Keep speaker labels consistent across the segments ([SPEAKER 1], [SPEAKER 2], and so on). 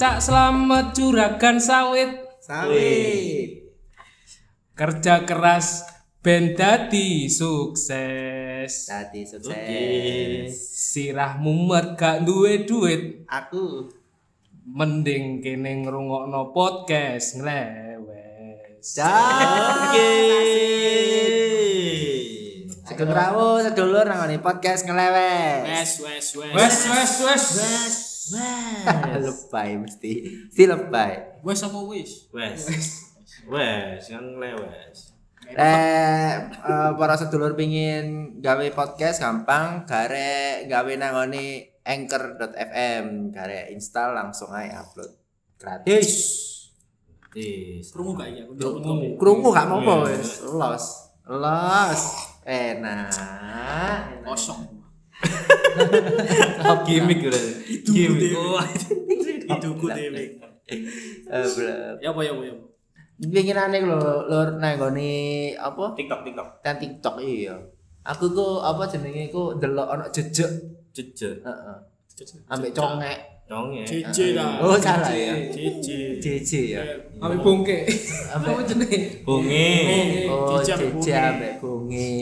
[SPEAKER 1] Cak selamat juragan sawit
[SPEAKER 2] Sawit.
[SPEAKER 1] kerja keras ben dadi sukses
[SPEAKER 2] Tadi sukses.
[SPEAKER 1] sirahmu mumet gak duwe duit
[SPEAKER 2] Aku
[SPEAKER 1] mending kene ngrungokno podcast nglewes
[SPEAKER 2] Oke. Aku rawo sedulur nang ngene podcast ngelewes.
[SPEAKER 3] Wes wes wes.
[SPEAKER 1] wes wes wes
[SPEAKER 2] lebay mesti. Si lebay.
[SPEAKER 3] Wes apa wes?
[SPEAKER 4] Wes. Wes, kan lewes.
[SPEAKER 2] Eh, eh, para sedulur pingin gawe podcast gampang garek gawe nang ngene anchor.fm garek install langsung ae upload gratis.
[SPEAKER 4] Tis.
[SPEAKER 3] Krungu gak ya?
[SPEAKER 2] Krungu, krungu gak apa-apa wis. Los. Los. Enak. enak.
[SPEAKER 3] Kosong.
[SPEAKER 4] Gimik udah. Gimik.
[SPEAKER 3] Oh, Hidupku dewe.
[SPEAKER 2] Eh, bleh.
[SPEAKER 3] Ya apa ya apa ya. apa?
[SPEAKER 2] Pinginane lho lur nang nggone apa?
[SPEAKER 4] TikTok TikTok.
[SPEAKER 2] Nang TikTok iya. Aku ku apa jenenge ku delok ana jejeg.
[SPEAKER 4] Jeje.
[SPEAKER 2] Heeh. Ambek congek.
[SPEAKER 4] Dong ya.
[SPEAKER 3] Cici lah.
[SPEAKER 2] Oh, salah ya.
[SPEAKER 3] Cici.
[SPEAKER 2] JJ ya.
[SPEAKER 3] Eh,
[SPEAKER 1] Ame bongke
[SPEAKER 2] Ambek
[SPEAKER 1] jenenge
[SPEAKER 4] Bungi.
[SPEAKER 2] Oh, JJ
[SPEAKER 3] Cici ambek bungi.
[SPEAKER 2] ambek bungi.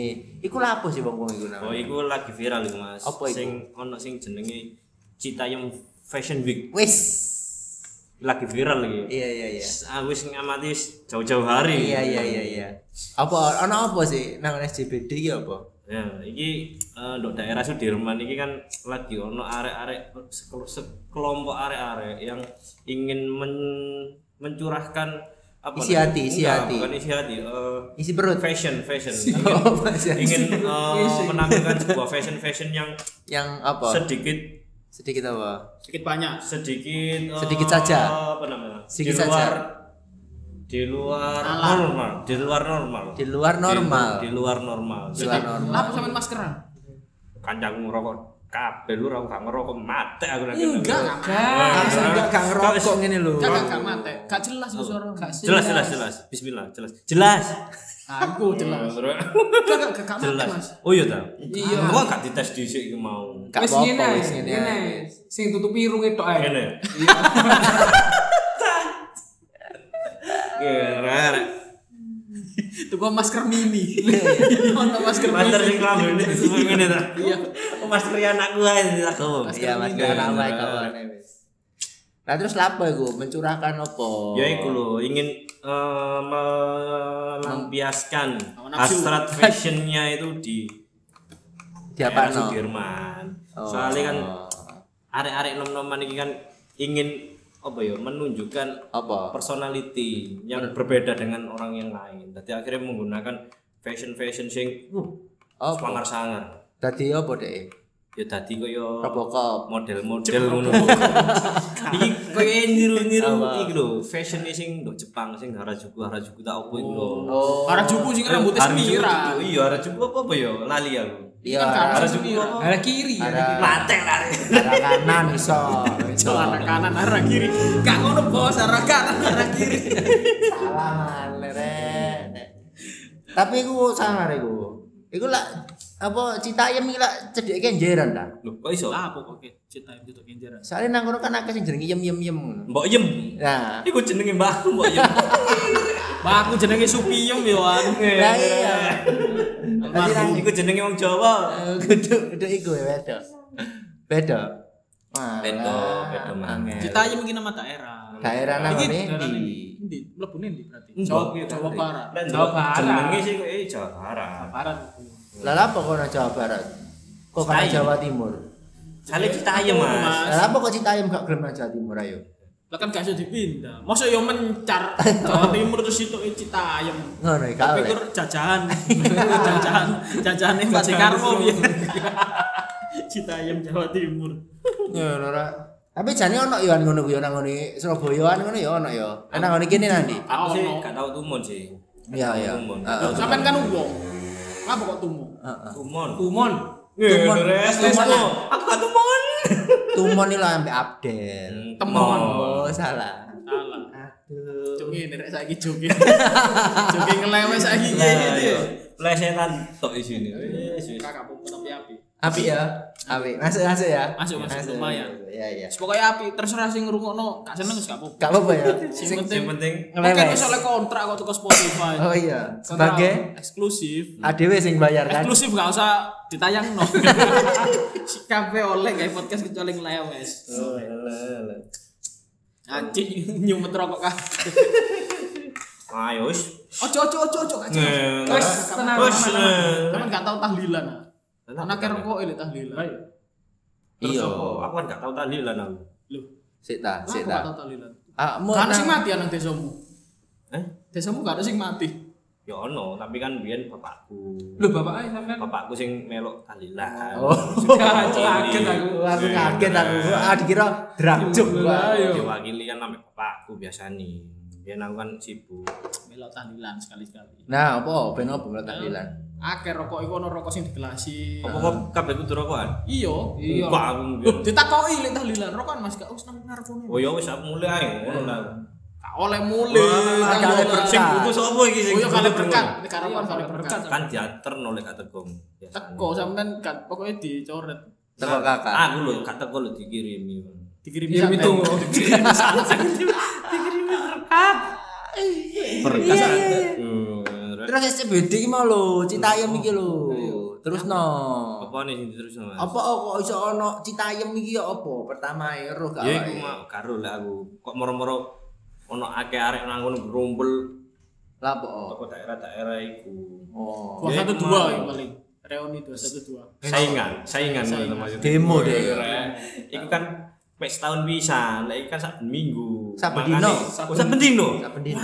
[SPEAKER 2] Iku lha apa sih bang bungi iku nang?
[SPEAKER 4] Oh, iku lagi viral iku, Mas.
[SPEAKER 2] Apa iku?
[SPEAKER 4] Sing ono sing jenenge Citayam Fashion Week
[SPEAKER 2] Wis.
[SPEAKER 4] lagi viral iki.
[SPEAKER 2] Iya iya iya.
[SPEAKER 4] Aku wis ngamati s- jauh-jauh hari.
[SPEAKER 2] Iya iya iya iya. Apa ana apa sih nang SJBD iki apa?
[SPEAKER 4] Ya, iki eh, ndok daerah Sudirman iki kan lagi ono arek-arek sekelo- sekelompok arek-arek yang ingin men- mencurahkan apa
[SPEAKER 2] Isi
[SPEAKER 4] namanya?
[SPEAKER 2] hati, isi
[SPEAKER 4] Enggak,
[SPEAKER 2] hati.
[SPEAKER 4] bukan isi hati eh,
[SPEAKER 2] Isi perut.
[SPEAKER 4] fashion fashion
[SPEAKER 2] Oh, masih ada.
[SPEAKER 4] ingin eh, menampilkan sebuah fashion fashion yang
[SPEAKER 2] yang apa?
[SPEAKER 4] sedikit
[SPEAKER 2] Sedikit apa?
[SPEAKER 3] Sedikit banyak.
[SPEAKER 4] sedikit eh,
[SPEAKER 2] Sedikit saja.
[SPEAKER 4] apa namanya
[SPEAKER 2] Sedikit
[SPEAKER 4] di luar
[SPEAKER 2] saja.
[SPEAKER 4] di luar
[SPEAKER 3] Alam.
[SPEAKER 4] normal di luar normal
[SPEAKER 2] Di luar normal.
[SPEAKER 4] di, di luar normal
[SPEAKER 2] Di luar normal.
[SPEAKER 3] Apa sampean maskeran?
[SPEAKER 4] kanjang ngerokok kabeh lu ora gak ngerokok mate aku lagi
[SPEAKER 3] Enggak, enggak.
[SPEAKER 4] Ah,
[SPEAKER 2] Langsung gak gak ngerokok
[SPEAKER 4] Kau-
[SPEAKER 2] ngene lho.
[SPEAKER 3] Enggak enggak enggak mate. Enggak jelas lu suara. Enggak
[SPEAKER 4] jelas jelas jelas bismillah jelas jelas
[SPEAKER 1] Nah,
[SPEAKER 3] Aku jelas. Enggak enggak enggak mate,
[SPEAKER 4] jelas
[SPEAKER 3] Mas.
[SPEAKER 4] oh iya ta iya kok gak dites dhisik iki mau
[SPEAKER 2] Gak
[SPEAKER 1] wes
[SPEAKER 2] apa-apa
[SPEAKER 1] ngene ae,
[SPEAKER 2] wis ngene.
[SPEAKER 1] ngene ae. sing tutupi irunge tok ae
[SPEAKER 4] ngene
[SPEAKER 3] Iya.
[SPEAKER 4] Gerak.
[SPEAKER 3] Itu gua masker mini. Ono masker
[SPEAKER 4] Master
[SPEAKER 3] mini.
[SPEAKER 4] sing lambene semua ngene ta. Iya. Master anakku ae tak kau.
[SPEAKER 2] Iya Mas gak lama kawane wis. Nah terus lapo iku mencurahkan apa?
[SPEAKER 4] Ya iku lho, ingin eh, melampiaskan
[SPEAKER 3] Hawa nafsu.
[SPEAKER 4] hasrat fashionnya itu di daerah
[SPEAKER 2] diapakno.
[SPEAKER 4] Sudirman.
[SPEAKER 2] Oh.
[SPEAKER 4] Soalnya kan arek-arek nom-noman ini kan ingin apa ya menunjukkan
[SPEAKER 2] apa?
[SPEAKER 4] personality yang berbeda dengan orang yang lain. Jadi akhirnya menggunakan fashion fashion sing uh,
[SPEAKER 2] Oh,
[SPEAKER 4] sangar sangar.
[SPEAKER 2] dadi apa deh?
[SPEAKER 4] Ya tadi koyo
[SPEAKER 2] Robocop.
[SPEAKER 4] model-model ngono. Iki koyo niru-niru iki lho, fashion sing ndok Jepang sing Harajuku Harajuku tak opo iku lho.
[SPEAKER 3] Orang juku sing kan rambutnya
[SPEAKER 4] Harajuku
[SPEAKER 3] semira.
[SPEAKER 4] itu, Iya Harajuku apa apa ya lali aku.
[SPEAKER 2] Iya,
[SPEAKER 3] Kan
[SPEAKER 2] arah
[SPEAKER 3] karena
[SPEAKER 4] Harajuku
[SPEAKER 3] semira.
[SPEAKER 4] apa?
[SPEAKER 1] arah kiri ya.
[SPEAKER 4] Mate lari.
[SPEAKER 2] arah kanan iso. Iso.
[SPEAKER 3] arah kanan arah kiri gak ngono bos arah kanan arah kiri
[SPEAKER 2] Salah leren. Tapi iku sangar iku. Iku lah apa citayem iki lah cedheke njeran ta.
[SPEAKER 4] Lho kok iso?
[SPEAKER 3] lah pokoknya cita itu tuh kenjeran
[SPEAKER 2] Soale nang kono kan akeh sing jenenge yem yem yem ngono.
[SPEAKER 4] Mbok Yem.
[SPEAKER 2] Nah,
[SPEAKER 4] Iku jenenge mbahku Mbok Yem.
[SPEAKER 3] bah aku jenenge supiyum yo anu. aku
[SPEAKER 2] lah iya.
[SPEAKER 4] Almarhum. Iku jenenge wong Jawa.
[SPEAKER 2] Gedhe gedhe Eh, iku ya beda. Beda. Malah.
[SPEAKER 4] Beda, beda mangan.
[SPEAKER 2] Angel.
[SPEAKER 3] cita mungkin nama daerah
[SPEAKER 2] Daerah nang
[SPEAKER 3] Iki
[SPEAKER 2] ngene
[SPEAKER 3] daerah
[SPEAKER 2] ndi?
[SPEAKER 3] ini di mlebu nih berarti
[SPEAKER 4] Jawa-
[SPEAKER 1] ya,
[SPEAKER 4] Jawa
[SPEAKER 3] Hmm, Barat
[SPEAKER 4] Lan,
[SPEAKER 1] Jawa Barat.
[SPEAKER 4] Jenenge sih eh Jawa Barat.
[SPEAKER 3] Barat
[SPEAKER 2] Lah lah apa kono Jawa Barat? Kok kono
[SPEAKER 4] Citayam.
[SPEAKER 2] Jawa Timur?
[SPEAKER 4] Sale Citayam, ya, Mas.
[SPEAKER 2] Lah apa kok Citayam gak gelem nang Jawa Timur ayo?
[SPEAKER 3] lah kan gak bisa dipindah masa yo mencar Jawa Timur terus itu Citayam
[SPEAKER 2] Ngono iki
[SPEAKER 3] tapi
[SPEAKER 2] kale.
[SPEAKER 3] kur jajahan jajahan jajahane Pak Dekarwo ya Citayam Jawa Timur
[SPEAKER 2] Ngono ora. Tapi jane ono yo ngono ku yo nang ngene Surabayaan ngono yo ono yo. Ah, Nang ngene kene nang ndi?
[SPEAKER 4] Aku sih
[SPEAKER 3] Ono.
[SPEAKER 4] gak tau tumun sih.
[SPEAKER 2] Iya iya.
[SPEAKER 4] Tumun.
[SPEAKER 2] Heeh.
[SPEAKER 3] sampean kan wong apa kok tumo
[SPEAKER 2] Heeh.
[SPEAKER 4] Tumun.
[SPEAKER 1] kumon
[SPEAKER 2] Tumun.
[SPEAKER 4] Tumun. Tumun. Aku gak tumun.
[SPEAKER 2] Tumon iki lah ambek Abdel.
[SPEAKER 3] Temon.
[SPEAKER 2] Oh, salah.
[SPEAKER 3] salah
[SPEAKER 2] Aduh.
[SPEAKER 3] Joki ini rek saiki joki. joki ngelewe saiki
[SPEAKER 4] Nah,
[SPEAKER 3] gitu.
[SPEAKER 4] iya. Plesetan tok isine. Wis wis.
[SPEAKER 3] Kakak pun tapi api.
[SPEAKER 2] Api ya. Api. Masuk masuk ya.
[SPEAKER 3] Masuk, masuk, lumayan.
[SPEAKER 2] Iya iya.
[SPEAKER 3] Pokoknya api terserah sing ngrungokno gak seneng wis gak apa-apa.
[SPEAKER 2] Gak apa-apa ya.
[SPEAKER 3] Sing
[SPEAKER 2] Sing-
[SPEAKER 3] penting
[SPEAKER 4] yang penting
[SPEAKER 3] mungkin
[SPEAKER 2] Ngelewes.
[SPEAKER 3] wis oleh kontrak kok tuku Spotify.
[SPEAKER 2] Oh iya.
[SPEAKER 3] Kontrak
[SPEAKER 2] Sebagai
[SPEAKER 3] eksklusif.
[SPEAKER 2] ADW sing bayar kan.
[SPEAKER 3] Eksklusif gak usah ditayang no. Kafe oleh kayak podcast kecuali ngelewes. Anjing nyumet rokok kah?
[SPEAKER 4] ayo Ah, ya wis
[SPEAKER 3] Ojo ojo ojo ojo aja.
[SPEAKER 4] Nge-
[SPEAKER 1] Wes, tenang.
[SPEAKER 4] Wes, eh.
[SPEAKER 3] Cuman gak tau tahlilan. ah. Karena kayak rokok ini tahlilan.
[SPEAKER 4] Terus
[SPEAKER 2] Iya.
[SPEAKER 4] apa? aku kan gak tahu tadi lah nang
[SPEAKER 3] Loh,
[SPEAKER 2] Sik ta,
[SPEAKER 3] kenapa
[SPEAKER 2] sik
[SPEAKER 3] gak
[SPEAKER 2] ta.
[SPEAKER 3] tau tahlilan?
[SPEAKER 2] Ah, mau
[SPEAKER 3] Gak ada
[SPEAKER 2] nang-
[SPEAKER 3] sing mati ya nang desamu.
[SPEAKER 4] eh
[SPEAKER 3] Desamu gak ada sing mati.
[SPEAKER 4] ya ono tapi kan biyen bapakku
[SPEAKER 1] Lu bapak ae sampean.
[SPEAKER 4] bapakku sing melok tahlilan
[SPEAKER 2] Oh.
[SPEAKER 1] Kaget aku.
[SPEAKER 2] Aku
[SPEAKER 4] Iya,
[SPEAKER 2] kaget aku. Ah dikira drum job gua.
[SPEAKER 1] Ayo.
[SPEAKER 4] diwakili kan sampe bapakku biasa nih biyen aku kan sibuk
[SPEAKER 3] Melok tahlilan sekali-sekali.
[SPEAKER 2] Nah, apa ben apa Mbak tahlilan?
[SPEAKER 3] Akeh rokok iku ono rokok sing digelasi.
[SPEAKER 4] apa kok kabeh kudu rokokan
[SPEAKER 3] Iya, iya.
[SPEAKER 4] Kok aku
[SPEAKER 3] Loh, ditakoki lek tahlilan rokokan Mas gak usah nang narkoba.
[SPEAKER 4] oh ya wis aku mulai ae ngono lah
[SPEAKER 3] Gak oleh mulih.
[SPEAKER 2] Wah, gak
[SPEAKER 3] Gak
[SPEAKER 2] oleh
[SPEAKER 3] oleh.
[SPEAKER 2] berkat.
[SPEAKER 4] sing buku sapa iki sing
[SPEAKER 3] kan Oh iya
[SPEAKER 4] buku
[SPEAKER 3] kali
[SPEAKER 4] teko?
[SPEAKER 3] berkat, nek karawan kali
[SPEAKER 1] kali
[SPEAKER 3] berkat.
[SPEAKER 4] kan dianterno lek gak tegong
[SPEAKER 3] Teko sampean gak pokoknya dicoret.
[SPEAKER 2] Teko kakak.
[SPEAKER 4] Ah, aku lho gak teko lho dikirimi
[SPEAKER 3] Dikirim
[SPEAKER 4] iya,
[SPEAKER 1] Ya
[SPEAKER 3] santet.
[SPEAKER 1] itu.
[SPEAKER 4] berkas
[SPEAKER 2] Iya,
[SPEAKER 4] Hmm, terus
[SPEAKER 2] Terus SCBD iki mau lho, Citayam iki lho. Terus no.
[SPEAKER 4] apa nih sing terus
[SPEAKER 2] Apa oh, kok iso ono Citayam iki ya apa? Pertama ya roh gak.
[SPEAKER 4] ya iku
[SPEAKER 2] awake.
[SPEAKER 4] mah karo lah aku kok moro-moro ono akeh arek nang ngono gerombel
[SPEAKER 2] Lah apa? oh?
[SPEAKER 4] toko daerah-daerah iku
[SPEAKER 2] Oh.
[SPEAKER 3] Dua
[SPEAKER 4] Ya,
[SPEAKER 3] satu
[SPEAKER 4] itu
[SPEAKER 3] dua
[SPEAKER 4] mau.
[SPEAKER 3] yang paling. Reuni dua satu dua.
[SPEAKER 4] saingan saingan ngono maksudnya
[SPEAKER 2] Demo deh.
[SPEAKER 4] Iya. iku kan mek setahun bisa lek iki kan saben minggu
[SPEAKER 2] Saben
[SPEAKER 4] Makane-
[SPEAKER 2] dino.
[SPEAKER 4] oh saben dino
[SPEAKER 2] Saben dino.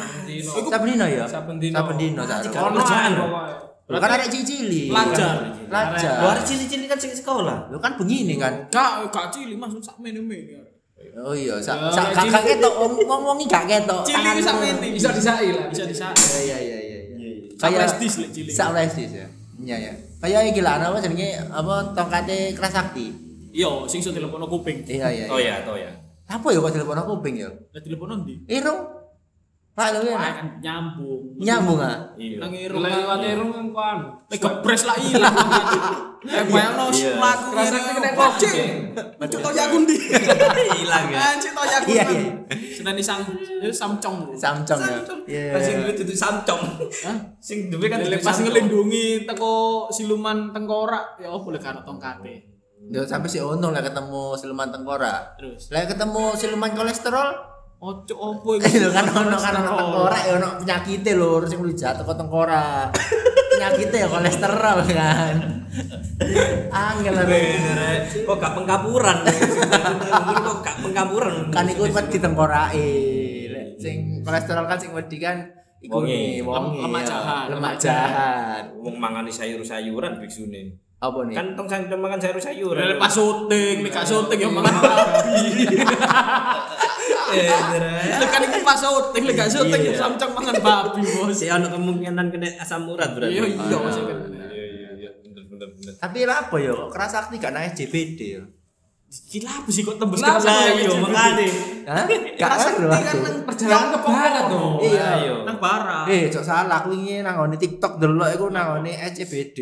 [SPEAKER 2] Saben dino ya?
[SPEAKER 1] Saben dino.
[SPEAKER 2] Saben dino. Saben
[SPEAKER 4] Ono
[SPEAKER 1] Kerjaan
[SPEAKER 4] anu.
[SPEAKER 1] pokoknya.
[SPEAKER 2] Lu kan ada cili-cili.
[SPEAKER 3] Pelajar.
[SPEAKER 2] Pelajar.
[SPEAKER 4] Luar cili-cili kan sing sekolah.
[SPEAKER 2] Lu kan begini kan.
[SPEAKER 3] Gak gak cili Mas sak mene-mene.
[SPEAKER 2] Oh iya, sak
[SPEAKER 3] Ya,
[SPEAKER 2] sak
[SPEAKER 3] cili.
[SPEAKER 2] kakak ketok om ngomongi gak ketok.
[SPEAKER 3] Cili
[SPEAKER 2] Tangan
[SPEAKER 3] wis sak
[SPEAKER 2] lu.
[SPEAKER 3] mene.
[SPEAKER 1] Bisa disai lah.
[SPEAKER 3] bisa bisa.
[SPEAKER 2] Iya iya iya iya. iya.
[SPEAKER 3] Sak
[SPEAKER 2] Kayak
[SPEAKER 3] prestis lek cili.
[SPEAKER 2] sak prestis ya. Iya ya. Kayak iki lah apa jenenge apa tongkate Kerasakti.
[SPEAKER 3] Iya, sing iso telepono kuping.
[SPEAKER 2] Iya iya.
[SPEAKER 4] Oh ya, toh ya.
[SPEAKER 2] Apa ya kok telepon aku ping ya?
[SPEAKER 3] Lah telepono ndi?
[SPEAKER 2] Irung. Pak lu
[SPEAKER 3] Ah,
[SPEAKER 2] ya.
[SPEAKER 3] kan nyambung.
[SPEAKER 2] Nyambung ah.
[SPEAKER 4] Iya.
[SPEAKER 3] Nang irung.
[SPEAKER 1] Lewat
[SPEAKER 3] Lek
[SPEAKER 1] irung kan kuan.
[SPEAKER 3] gepres lah ilang. Eh bayangno
[SPEAKER 4] Iya.
[SPEAKER 3] mlaku
[SPEAKER 1] Kerasa
[SPEAKER 3] ngene.
[SPEAKER 1] kena
[SPEAKER 3] Wajib.
[SPEAKER 1] kucing.
[SPEAKER 3] Cuk toya aku ndi?
[SPEAKER 4] Hilang ya.
[SPEAKER 3] Anjir toya aku.
[SPEAKER 2] Iya,
[SPEAKER 3] nang.
[SPEAKER 2] iya.
[SPEAKER 3] Seneni sang eh, samcong.
[SPEAKER 2] Samcong ya.
[SPEAKER 4] Lah sing duwe dudu samcong.
[SPEAKER 3] Hah?
[SPEAKER 4] Sing duwe kan
[SPEAKER 3] Lek pas ngelindungi teko siluman tengkorak ya boleh karo tongkate.
[SPEAKER 2] Yo sampai si Ono lah ketemu siluman tengkorak.
[SPEAKER 3] Terus
[SPEAKER 2] Lah ketemu siluman kolesterol.
[SPEAKER 3] ojo opo
[SPEAKER 2] Eh
[SPEAKER 4] Iya,
[SPEAKER 2] lho kan ono kan ono tengkorak ya ono penyakite lho sing lu jatuh ke tengkorak. Penyakite ya kolesterol kan. Angel lah.
[SPEAKER 4] Kok gak pengkapuran? Kok gak pengkapuran?
[SPEAKER 2] Kan iku wedi tengkorake. Lek Sing kolesterol kan sing wedi kan iku
[SPEAKER 4] Wonge.
[SPEAKER 2] nih, wonge.
[SPEAKER 3] Lemak jahat.
[SPEAKER 2] Lemak jahat.
[SPEAKER 4] wong mangani sayur-sayuran biksune.
[SPEAKER 2] Apa nih?
[SPEAKER 4] Kan tong sampe makan sayur-sayuran.
[SPEAKER 3] Lek pas syuting, lek gak syuting ya
[SPEAKER 4] Iya.
[SPEAKER 3] makan babi.
[SPEAKER 4] Eh, Dre.
[SPEAKER 3] Lek kan iku pas syuting, lek gak syuting ya
[SPEAKER 4] Iya.
[SPEAKER 3] samcong mangan babi, Bos.
[SPEAKER 4] Sih ono kemungkinan kena asam urat berarti.
[SPEAKER 3] Iya, iya, Mas.
[SPEAKER 4] Iya, iya, iya, bener bener bener.
[SPEAKER 2] Ah. Tapi lah apa ya kok kerasakti gak naik JBD ya?
[SPEAKER 3] Gila apa sih kok tembus
[SPEAKER 1] Nah,
[SPEAKER 4] Lah
[SPEAKER 3] ke
[SPEAKER 1] Kenapa
[SPEAKER 4] iya
[SPEAKER 1] jadi
[SPEAKER 4] makane.
[SPEAKER 2] Hah? Gak
[SPEAKER 1] Kerasa
[SPEAKER 2] ngeru
[SPEAKER 1] kan
[SPEAKER 2] aku.
[SPEAKER 1] nang perjalanan ke barat tuh.
[SPEAKER 2] Iya.
[SPEAKER 4] Ayo.
[SPEAKER 3] Nang bara.
[SPEAKER 4] Iya.
[SPEAKER 2] Eh, cok salah aku ini nangone TikTok delok iku nangone SCBD.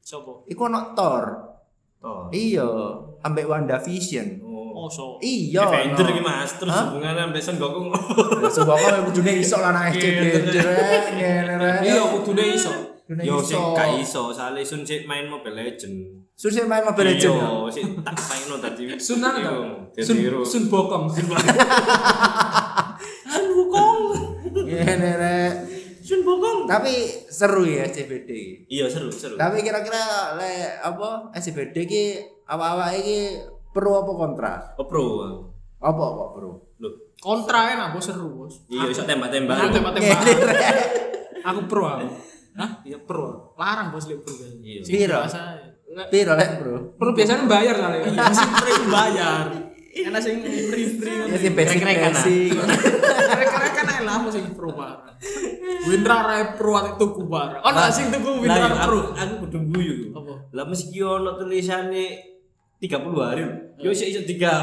[SPEAKER 3] Sopo?
[SPEAKER 2] E Iku ono Thor.
[SPEAKER 4] Toh.
[SPEAKER 2] Iya, ambek WandaVision.
[SPEAKER 4] Oh.
[SPEAKER 3] Oso.
[SPEAKER 2] Iya.
[SPEAKER 4] Avenger
[SPEAKER 2] ono.
[SPEAKER 4] iki Mas, terus
[SPEAKER 2] Hah?
[SPEAKER 4] hubungannya sampe Son Goku.
[SPEAKER 2] Ya sebab kok kudune iso lah nang SCBD rek, ngene rek.
[SPEAKER 1] Iya, kudune iso.
[SPEAKER 2] Kudune
[SPEAKER 4] Yo sik
[SPEAKER 2] iso.
[SPEAKER 4] gak iso, sale Sun sik main Mobile Legend.
[SPEAKER 2] Suruh saya main Mobile Legends. ya?
[SPEAKER 4] Yo sik tak maino tadi.
[SPEAKER 1] Sunan
[SPEAKER 4] Iya,
[SPEAKER 1] tau? Sun
[SPEAKER 4] Dadi ro.
[SPEAKER 1] Sun Bokong.
[SPEAKER 2] Ngene rek.
[SPEAKER 4] Sun Bokong.
[SPEAKER 2] Tapi seru ya SCBD.
[SPEAKER 4] Iya seru, seru.
[SPEAKER 2] Tapi kira-kira le apa SCBD ki awak-awak iki pro apa kontra?
[SPEAKER 4] Oh, pro.
[SPEAKER 2] Apa kok pro?
[SPEAKER 4] Loh.
[SPEAKER 3] Kontra enak, Bos, seru, Bos.
[SPEAKER 4] Iya iso
[SPEAKER 3] Nah,
[SPEAKER 4] tembak-tembakan.
[SPEAKER 3] tembak-tembakan.
[SPEAKER 1] Aku pro aku.
[SPEAKER 3] Hah?
[SPEAKER 1] Iya pro.
[SPEAKER 3] Larang, Bos, lek bro. guys.
[SPEAKER 4] Iya.
[SPEAKER 3] Sing
[SPEAKER 2] Piro?
[SPEAKER 3] dewasa.
[SPEAKER 2] Piro lek, Bro?
[SPEAKER 1] Pro biasanya bayar lah ya.
[SPEAKER 3] Iya, sing free bayar.
[SPEAKER 4] iya.
[SPEAKER 3] Enak sing free-free.
[SPEAKER 2] Ya sih basic
[SPEAKER 4] Krek-krekan, ah.
[SPEAKER 2] basic.
[SPEAKER 3] Kira-kira kan ae lah sing pro barang. Winra rae pro ati tuku barang. Ono
[SPEAKER 4] Lah,
[SPEAKER 3] sing tuku
[SPEAKER 4] Lah,
[SPEAKER 3] Winra
[SPEAKER 4] iya, aku
[SPEAKER 3] pro.
[SPEAKER 4] aku kudu guyu.
[SPEAKER 3] Apa?
[SPEAKER 4] Lah meski ono tulisane 30 hari. Yo sik iso tiga.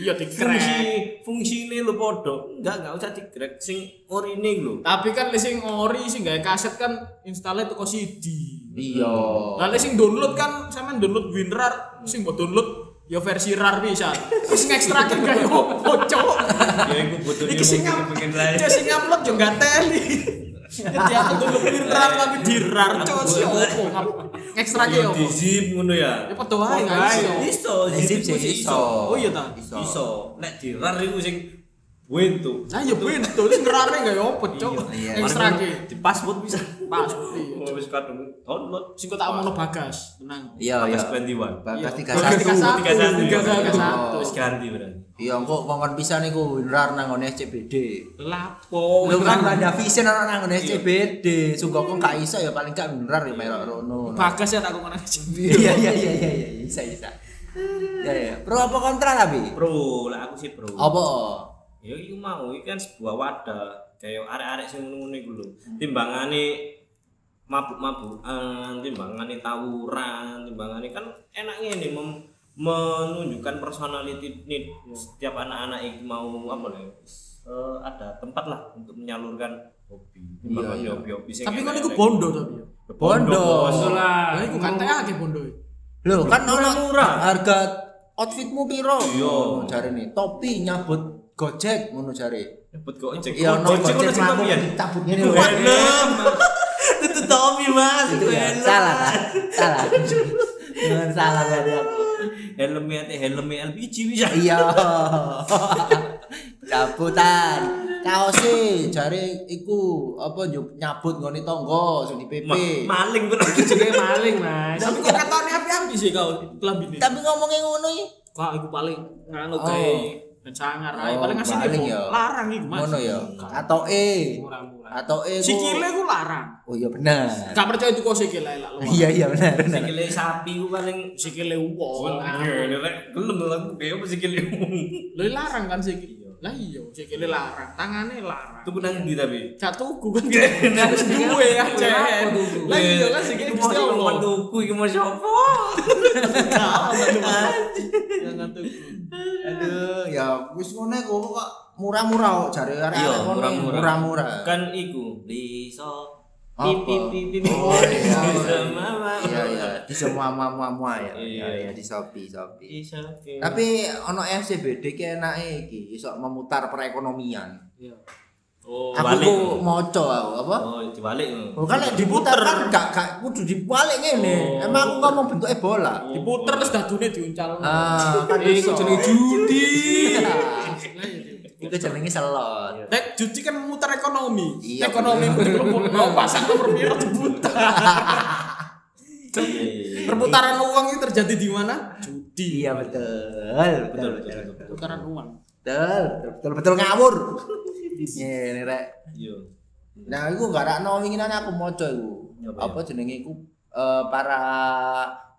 [SPEAKER 3] Iya
[SPEAKER 4] Fungsi
[SPEAKER 3] dikrek.
[SPEAKER 4] fungsine lho padha. Enggak, enggak usah digrek sing orine iku lho.
[SPEAKER 3] Tapi kan lek sing ori sing gawe kaset kan installe tuku CD.
[SPEAKER 2] Iya.
[SPEAKER 3] Lalu sing download kan sama download WinRAR, sing mau download ya versi RAR bisa. Terus ngekstra kan gak yo poco.
[SPEAKER 4] ya iku butuh
[SPEAKER 3] Iki sing
[SPEAKER 4] ilmu pengen lain
[SPEAKER 3] ngupload, sing ngupload yo gak teli. Ya dia aku download WinRAR tapi di RAR cok sih opo. Ngekstra
[SPEAKER 4] Ya,
[SPEAKER 3] yo
[SPEAKER 4] di
[SPEAKER 3] opo.
[SPEAKER 4] zip ngono ya
[SPEAKER 3] Ya padha wae
[SPEAKER 1] Wah,
[SPEAKER 3] gak iso.
[SPEAKER 4] iso
[SPEAKER 2] Zip
[SPEAKER 4] iku
[SPEAKER 2] sih
[SPEAKER 4] sih
[SPEAKER 2] iso.
[SPEAKER 3] Oh iya ta.
[SPEAKER 2] Iso.
[SPEAKER 4] iso nek di rar iku sing wentu
[SPEAKER 3] Nah ya win terus ngerare gak yo opo cok.
[SPEAKER 2] Iya.
[SPEAKER 3] Ngekstra ki.
[SPEAKER 4] Ya, di password bisa
[SPEAKER 3] Pasti.
[SPEAKER 4] Oh, wis kadung download
[SPEAKER 3] Sing kok tak omongno bagas, tenang.
[SPEAKER 2] Iya, iya.
[SPEAKER 4] Bagas 21
[SPEAKER 2] Bagas tiga
[SPEAKER 3] Bagas
[SPEAKER 2] satu.
[SPEAKER 4] tiga
[SPEAKER 3] 31.
[SPEAKER 4] satu
[SPEAKER 3] Tiga satu.
[SPEAKER 4] tiga satu
[SPEAKER 2] Oh.
[SPEAKER 4] terus ganti berarti
[SPEAKER 2] Iya, engko wongkon pisan iku winrar nang ngone SCBD.
[SPEAKER 3] Lapo.
[SPEAKER 4] Oh,
[SPEAKER 2] Lu kan ada vision orang nang ngone SCBD. Sungguh kok gak iso ya paling gak winrar ya melok rono.
[SPEAKER 3] Bagas ya tak ngomong aja.
[SPEAKER 2] Iya, iya, iya, iya, iya, bisa, bisa. Ya, ya. Pro apa kontra tapi?
[SPEAKER 4] pro lah aku sih pro
[SPEAKER 2] Apa?
[SPEAKER 4] ya itu mau itu kan sebuah wadah kayak arek-arek sing ngono-ngono iku lho timbangane mabuk-mabukan timbangane tawuran timbangane kan enak ngene mem- menunjukkan personality nih setiap anak-anak itu mau apa lah ya, eh, ada tempat lah untuk menyalurkan hobi timbangane
[SPEAKER 2] iya.
[SPEAKER 4] hobi-hobi sing
[SPEAKER 3] Tapi kan
[SPEAKER 4] elek-elek.
[SPEAKER 3] iku bondo tapi.
[SPEAKER 2] Bondo.
[SPEAKER 4] bos.
[SPEAKER 1] Bondo lah.
[SPEAKER 3] Lah iku kate akeh bondo.
[SPEAKER 2] Loh, kan ono
[SPEAKER 4] Murah-murah.
[SPEAKER 2] harga outfitmu piro?
[SPEAKER 4] Iya.
[SPEAKER 2] Ngono jare nih. Topi nyabut Gojek ngono jare.
[SPEAKER 4] nyebut gojek
[SPEAKER 2] Iya, ono
[SPEAKER 4] Gojek ono
[SPEAKER 2] Gojek
[SPEAKER 4] sing
[SPEAKER 2] mlaku
[SPEAKER 4] tapi ya
[SPEAKER 2] dicabut ngene lho.
[SPEAKER 4] itu Tommy mas
[SPEAKER 2] Itu ya, salah, Pak. Salah. Jangan salah tadi aku.
[SPEAKER 4] helmnya helmnya LPG bisa
[SPEAKER 2] Iya. Cabutan. Kaose jare iku apa nyub- nyabut ngone tangga sing di PP.
[SPEAKER 4] Ma- maling bro
[SPEAKER 1] Jenenge maling, Mas.
[SPEAKER 3] Tapi kok katane api-api sih kau kelambine.
[SPEAKER 2] Tapi ngomongnya ngono iki.
[SPEAKER 3] Wah, iku paling nganu
[SPEAKER 2] Oh.
[SPEAKER 3] gawe dan sangar ae.
[SPEAKER 2] Oh,
[SPEAKER 3] Paling ngasih
[SPEAKER 2] paling
[SPEAKER 3] ini
[SPEAKER 2] ya.
[SPEAKER 3] larang iku, Mas.
[SPEAKER 2] Ngono ya. Atau E.
[SPEAKER 1] Murah-murah.
[SPEAKER 2] Atau E. ku-
[SPEAKER 3] Sikile iku larang.
[SPEAKER 2] Oh iya benar.
[SPEAKER 3] Gak percaya tuku sikile ae lah lu.
[SPEAKER 2] Iya iya benar benar.
[SPEAKER 4] sikile sapi ku paling
[SPEAKER 3] Sikile wong.
[SPEAKER 4] Iya, lek gelem aku kayak apa sikile
[SPEAKER 3] Lho larang kan sikile. Lah iya, sikile larang, tangane larang.
[SPEAKER 4] Tuku nang ndi tapi?
[SPEAKER 3] Gak tuku kan kita harus duwe
[SPEAKER 1] Iya.
[SPEAKER 3] ya, Cen.
[SPEAKER 1] tuku?
[SPEAKER 3] Lah iya kan sikile Gusti Allah.
[SPEAKER 4] Tuku iki mau sapa?
[SPEAKER 3] Jangan tuku.
[SPEAKER 2] Aduh, ya wis ngono iku kok murah-murah kok jare arek
[SPEAKER 4] Iya,
[SPEAKER 2] ngono,
[SPEAKER 4] murah-murah.
[SPEAKER 2] Murah-murah.
[SPEAKER 4] Kan iku bisa
[SPEAKER 2] Apa?
[SPEAKER 4] pipi pipi
[SPEAKER 2] Oh, iya.
[SPEAKER 4] bisa mama.
[SPEAKER 2] Iya iya, di semua mamua ya.
[SPEAKER 4] Iya.
[SPEAKER 2] Iya iya di Shopee, Shopee.
[SPEAKER 4] Bisa.
[SPEAKER 2] Tapi ono FCBD ki enake iki iso memutar perekonomian.
[SPEAKER 1] Iya.
[SPEAKER 4] oh,
[SPEAKER 2] Aku
[SPEAKER 4] balik.
[SPEAKER 2] ku moco aku apa?
[SPEAKER 4] Oh, dibalik.
[SPEAKER 2] Oh, kan nek diputar kan gak gak kudu dibalik ngene.
[SPEAKER 4] Oh.
[SPEAKER 2] Emang aku ngomong bentuke bola.
[SPEAKER 3] Diputer terus dadune diuncal.
[SPEAKER 2] Ah, kan
[SPEAKER 1] Iku
[SPEAKER 2] iso.
[SPEAKER 1] jenenge judi.
[SPEAKER 3] Lah iya.
[SPEAKER 2] Iku jenenge selot.
[SPEAKER 3] Nek judi kan memutar ekonomi.
[SPEAKER 2] Iya,
[SPEAKER 3] ekonomi
[SPEAKER 2] bener.
[SPEAKER 3] bener mau pasang nomor piro diputar.
[SPEAKER 4] Iya,
[SPEAKER 3] Perputaran uang itu terjadi di mana? Judi.
[SPEAKER 2] Iya betul. Betul betul.
[SPEAKER 4] betul,
[SPEAKER 2] betul.
[SPEAKER 3] Perputaran uang.
[SPEAKER 2] Betul, betul, betul, betul ngawur. Ngene rek.
[SPEAKER 4] Iya.
[SPEAKER 2] Nah, iku gak rakno winginane aku maca iku.
[SPEAKER 4] Apa ya?
[SPEAKER 2] Apa jenenge iku eh, para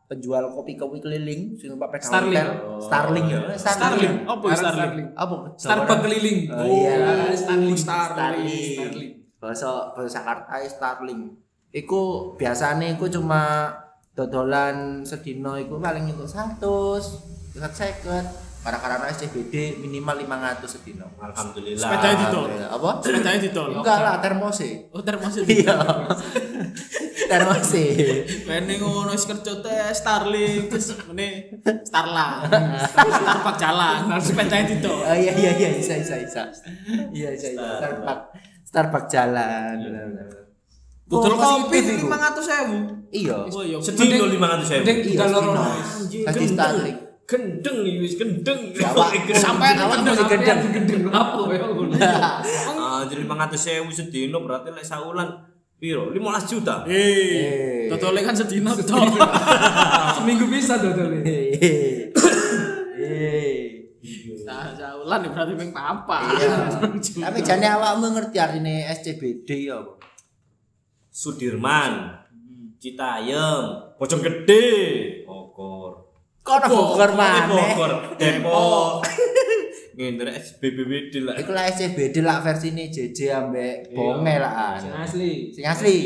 [SPEAKER 2] penjual kopi-kopi keliling sing numpak peda
[SPEAKER 1] Starling.
[SPEAKER 2] hotel. Starling ya.
[SPEAKER 4] Oh, iya.
[SPEAKER 2] Starling.
[SPEAKER 3] Apa
[SPEAKER 1] Barang
[SPEAKER 3] ya Starling?
[SPEAKER 2] Apa?
[SPEAKER 1] Starbucks keliling.
[SPEAKER 2] Oh, iya.
[SPEAKER 3] Starling.
[SPEAKER 2] Starling.
[SPEAKER 3] Starling.
[SPEAKER 2] Bahasa bahasa Jakarta Starling. Iku biasane iku cuma dodolan sedina iku paling entuk 100, 150. Para karena SCBD minimal 500 sedina.
[SPEAKER 4] Alhamdulillah.
[SPEAKER 3] Sepeda itu dong.
[SPEAKER 2] Apa?
[SPEAKER 3] Sepedanya didol.
[SPEAKER 2] Enggak lah, termose.
[SPEAKER 3] Oh, termasuk
[SPEAKER 2] iya termose
[SPEAKER 3] Kene ngono wis kerja teh Starling terus mene Starla. Starbucks jalan.
[SPEAKER 1] Nah,
[SPEAKER 3] Sepedanya didol.
[SPEAKER 2] oh iya iya iya bisa bisa bisa iya bisa bisa Starbucks Starbucks jalan benar, benar. Oh,
[SPEAKER 3] Dodol
[SPEAKER 2] masih
[SPEAKER 3] kopi
[SPEAKER 2] aktif, Ibu.
[SPEAKER 3] 500.000.
[SPEAKER 2] iya
[SPEAKER 3] Oh iya.
[SPEAKER 4] Sedih lho 500
[SPEAKER 1] Mending
[SPEAKER 2] Iya,
[SPEAKER 4] ewu.
[SPEAKER 1] kita loro.
[SPEAKER 2] Stino. Kasih Starling
[SPEAKER 4] Gendeng iki wis gendeng.
[SPEAKER 2] Jawa.
[SPEAKER 3] Sampai
[SPEAKER 2] Awas
[SPEAKER 3] gendeng
[SPEAKER 2] masih gendeng.
[SPEAKER 1] Gendeng lapo ya.
[SPEAKER 4] Ah, jadi 500.000 sedino berarti lek saulan piro? 15 juta.
[SPEAKER 2] Eh.
[SPEAKER 3] Eh, dodolnya kan sedina toh.
[SPEAKER 1] Seminggu bisa dodol.
[SPEAKER 2] Hehehe. Hehehe.
[SPEAKER 3] Nah, jaulan ya berarti ping papa.
[SPEAKER 2] iya tapi jane awakmu ngerti artine SCBD ya Bu?
[SPEAKER 4] Sudirman, Citayam, Pojok Gede, Bogor.
[SPEAKER 2] kono Bogor
[SPEAKER 4] Eh,
[SPEAKER 2] maneh
[SPEAKER 4] Bogor, Depok. Ngene rek BBBD lah. Eh,
[SPEAKER 2] iku lah SCBD lah versine JJ ambek bonge lah
[SPEAKER 1] Sing asli.
[SPEAKER 2] sing asli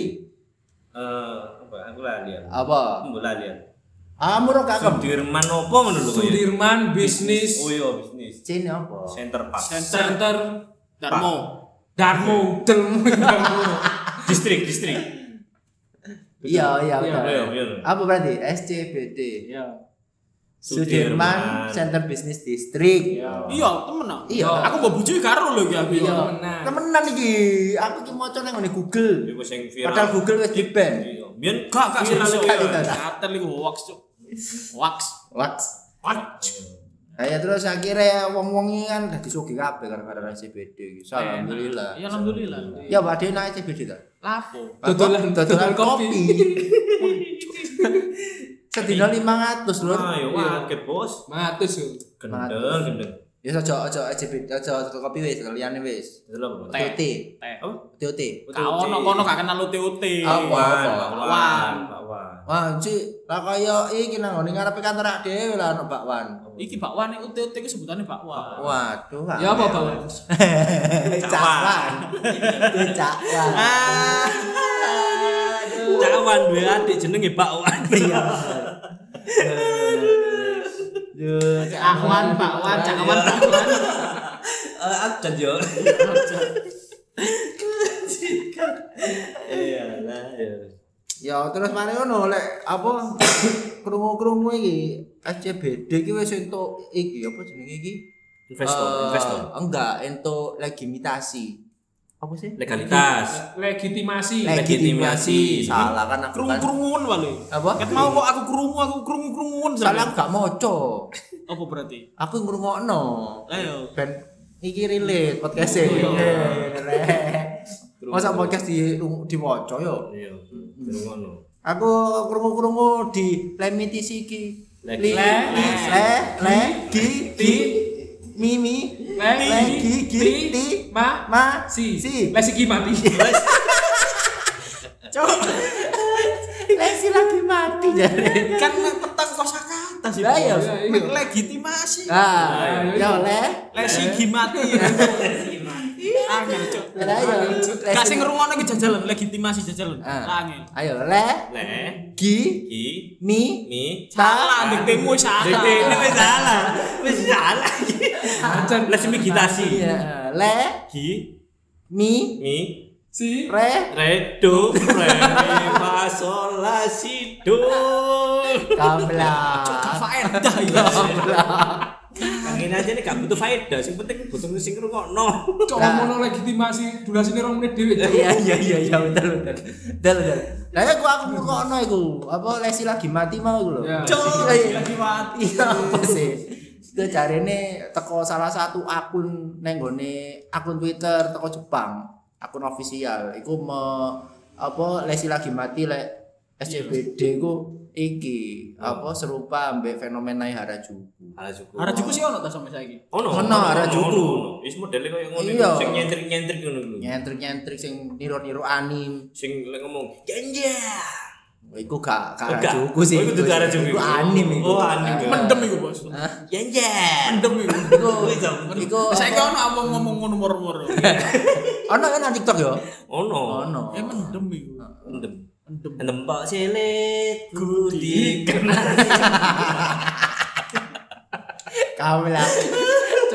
[SPEAKER 4] Eh, apa aku lali ya.
[SPEAKER 2] apa
[SPEAKER 4] Aku lali ya.
[SPEAKER 2] ah murah kakek
[SPEAKER 4] Sudirman opo ngono lho kok ya?
[SPEAKER 1] Sudirman bisnis
[SPEAKER 4] Oh iya, bisnis.
[SPEAKER 2] Cine apa
[SPEAKER 4] Center Park.
[SPEAKER 1] center
[SPEAKER 3] Darmo.
[SPEAKER 1] Darmo Delmo Darmo.
[SPEAKER 4] Distrik, distrik.
[SPEAKER 2] Iya, iya,
[SPEAKER 1] Iya,
[SPEAKER 2] betul.
[SPEAKER 4] iya, iya.
[SPEAKER 2] Apa berarti? SCBD.
[SPEAKER 1] Iya.
[SPEAKER 2] Sudirman
[SPEAKER 4] Sudirman.
[SPEAKER 2] Center Business District.
[SPEAKER 1] Iya.
[SPEAKER 3] Iya, temen ah.
[SPEAKER 2] Iya.
[SPEAKER 3] Aku mau bujui karo lho iki aku.
[SPEAKER 1] Iya.
[SPEAKER 2] Temenan iki. Aku ki maca nang ngene Google.
[SPEAKER 4] Iku sing viral.
[SPEAKER 2] Padahal Google wis di-ban.
[SPEAKER 4] Iya. Biyen
[SPEAKER 3] Gak gak
[SPEAKER 4] viral iku
[SPEAKER 3] serius.
[SPEAKER 2] Gak,
[SPEAKER 4] ya.
[SPEAKER 2] gak, gak.
[SPEAKER 3] Kater iku hoax. Cuk. Hoax.
[SPEAKER 2] Wax.
[SPEAKER 3] Hoax.
[SPEAKER 2] Ayo terus akhirnya wong-wong iki kan dadi sugih kabeh gara-gara SCBD iki. So, Alhamdulillah.
[SPEAKER 3] Ya alhamdulillah.
[SPEAKER 2] Ya padahal naik SCBD ta.
[SPEAKER 3] Lapo.
[SPEAKER 1] Dodolan- dodolan kopi.
[SPEAKER 2] Sedina 500 lur.
[SPEAKER 4] Ayo waket iya, bos.
[SPEAKER 1] Matus yo.
[SPEAKER 4] Gendeng gendeng.
[SPEAKER 2] Ya aja aja SCBD aja kopi wis liyane wis.
[SPEAKER 4] Delok bro.
[SPEAKER 3] Teh.
[SPEAKER 2] TOT.
[SPEAKER 3] Teh.
[SPEAKER 4] Apa?
[SPEAKER 2] TOT.
[SPEAKER 3] Kau ono kono gak kenal UTUT.
[SPEAKER 2] Apa?
[SPEAKER 4] Wan,
[SPEAKER 3] Wan.
[SPEAKER 4] Wan, Pak Wan.
[SPEAKER 2] Wah, cik, lah kaya iki nang ngene ngarepe kantor awake dhewe lah ono bakwan.
[SPEAKER 3] Iki bakwan UTUT iku sebutane
[SPEAKER 2] Ah.
[SPEAKER 3] bakwan.
[SPEAKER 2] Waduh.
[SPEAKER 1] Ya apa
[SPEAKER 2] angel.
[SPEAKER 1] bawa?
[SPEAKER 2] Cakwan. Itu cakwan.
[SPEAKER 4] Cawan duwe adik jenenge Bakwan. Iya.
[SPEAKER 3] Ahwan, bakwan, cakawan, bakwan.
[SPEAKER 4] Abdan Eh, yo. Iya lah.
[SPEAKER 2] Ya terus mari ngono lek apa krungu-krungu iki SCBD iki wis entuk iki apa jenenge iki?
[SPEAKER 4] Investor,
[SPEAKER 2] Eh,
[SPEAKER 4] investor.
[SPEAKER 2] Enggak, entuk legitimasi. Apa sih?
[SPEAKER 4] Legalitas.
[SPEAKER 1] Legitimasi.
[SPEAKER 4] Leg- Legitimasi.
[SPEAKER 2] Salah kan aku kan.
[SPEAKER 3] Krungu-krunguan wae.
[SPEAKER 2] Apa?
[SPEAKER 3] Ket mau kok aku krungu, aku krungu-krunguan.
[SPEAKER 2] Salah aku gak moco.
[SPEAKER 3] Apa berarti?
[SPEAKER 2] Aku ngrungokno.
[SPEAKER 3] Ayo.
[SPEAKER 2] Ben iki relate podcast e. Masa podcast di diwoco yo.
[SPEAKER 4] Iya. Terus ngono.
[SPEAKER 2] Aku krungu-krungu di lemitisi iki.
[SPEAKER 4] Legi.
[SPEAKER 2] Li-
[SPEAKER 1] Le-
[SPEAKER 2] le le di di mimi
[SPEAKER 1] Legi-
[SPEAKER 2] legi
[SPEAKER 1] ti-
[SPEAKER 2] gi ti
[SPEAKER 1] ma-
[SPEAKER 2] ma
[SPEAKER 1] Si.
[SPEAKER 2] si
[SPEAKER 1] Les iki mati.
[SPEAKER 2] Cuk. lesi lagi mati jare
[SPEAKER 3] Kan nek petang kosakata sih.
[SPEAKER 2] Lah iya.
[SPEAKER 1] Iya, iya.
[SPEAKER 3] Mek legitimasi.
[SPEAKER 2] ah
[SPEAKER 1] Ayo,
[SPEAKER 2] yo
[SPEAKER 1] iya.
[SPEAKER 2] le
[SPEAKER 3] Lesi gimati. Angel cuk.
[SPEAKER 2] le yo
[SPEAKER 3] Kasih ngrungokno iki jajalan legitimasi jajalan.
[SPEAKER 2] Ah.
[SPEAKER 3] Angel.
[SPEAKER 2] ayo le
[SPEAKER 4] Le.
[SPEAKER 2] gi
[SPEAKER 4] Ki.
[SPEAKER 2] mi
[SPEAKER 4] eh, Mi.
[SPEAKER 3] Salah diktemu salah.
[SPEAKER 4] Ini wis salah. Wis salah.
[SPEAKER 1] Acan.
[SPEAKER 4] Legitimasi.
[SPEAKER 2] Iya, le
[SPEAKER 4] Ki.
[SPEAKER 2] mi
[SPEAKER 4] Mi.
[SPEAKER 1] Si.
[SPEAKER 2] re
[SPEAKER 4] Re do re mi fa sol la si do.
[SPEAKER 2] kabla
[SPEAKER 3] Faedah ya.
[SPEAKER 4] Angin aja nih gak butuh faedah, sing penting butuh sing ngrungokno.
[SPEAKER 1] Cok
[SPEAKER 2] Nah.
[SPEAKER 1] ngono legitimasi durasine 2 menit dhewe. Cok.
[SPEAKER 2] iya iya iya iya betul betul betul betul lah ya gua aku ngokno iku apa lesi lagi mati mau iku lho
[SPEAKER 1] Ya.
[SPEAKER 3] Cuk,
[SPEAKER 2] Iya, iya.
[SPEAKER 3] lagi mati.
[SPEAKER 2] iya apa sih itu jarene teko salah satu akun nenggone akun Twitter teko Jepang akun official iku me apa lesi lagi mati lek SCBD ku iki apa serupa ambek fenomena Harajuku
[SPEAKER 4] Harajuku.
[SPEAKER 3] Harajuku sih ono ta sampe saiki.
[SPEAKER 4] Ono.
[SPEAKER 2] Ono, Harajuku.
[SPEAKER 4] ono, ono. Wis modele koyo ngono
[SPEAKER 2] Iya.
[SPEAKER 4] iku, sing nyentrik-nyentrik ngono iku.
[SPEAKER 2] nyentrik-nyentrik sing niru-niru anim
[SPEAKER 4] Sing lek ngomong ganja.
[SPEAKER 2] iku gak gak
[SPEAKER 4] Oh, gak.
[SPEAKER 2] Harajuku sih
[SPEAKER 4] Oh, iku dudu Harajuku.
[SPEAKER 2] Iku anim iku
[SPEAKER 4] Oh, anim ya.
[SPEAKER 3] Mendem iku, Bos.
[SPEAKER 4] Ganja.
[SPEAKER 3] Mendem iku.
[SPEAKER 2] iku
[SPEAKER 4] Wis, jam.
[SPEAKER 2] iku
[SPEAKER 3] Saiki ono omong ngomong ngono moro-moro. Ya
[SPEAKER 2] ono kan nang TikTok yo
[SPEAKER 4] Oh, Ono.
[SPEAKER 2] ono
[SPEAKER 3] mendem iku.
[SPEAKER 4] Mendem.
[SPEAKER 3] Mendem.
[SPEAKER 4] Nembak silit gudi.
[SPEAKER 2] kabla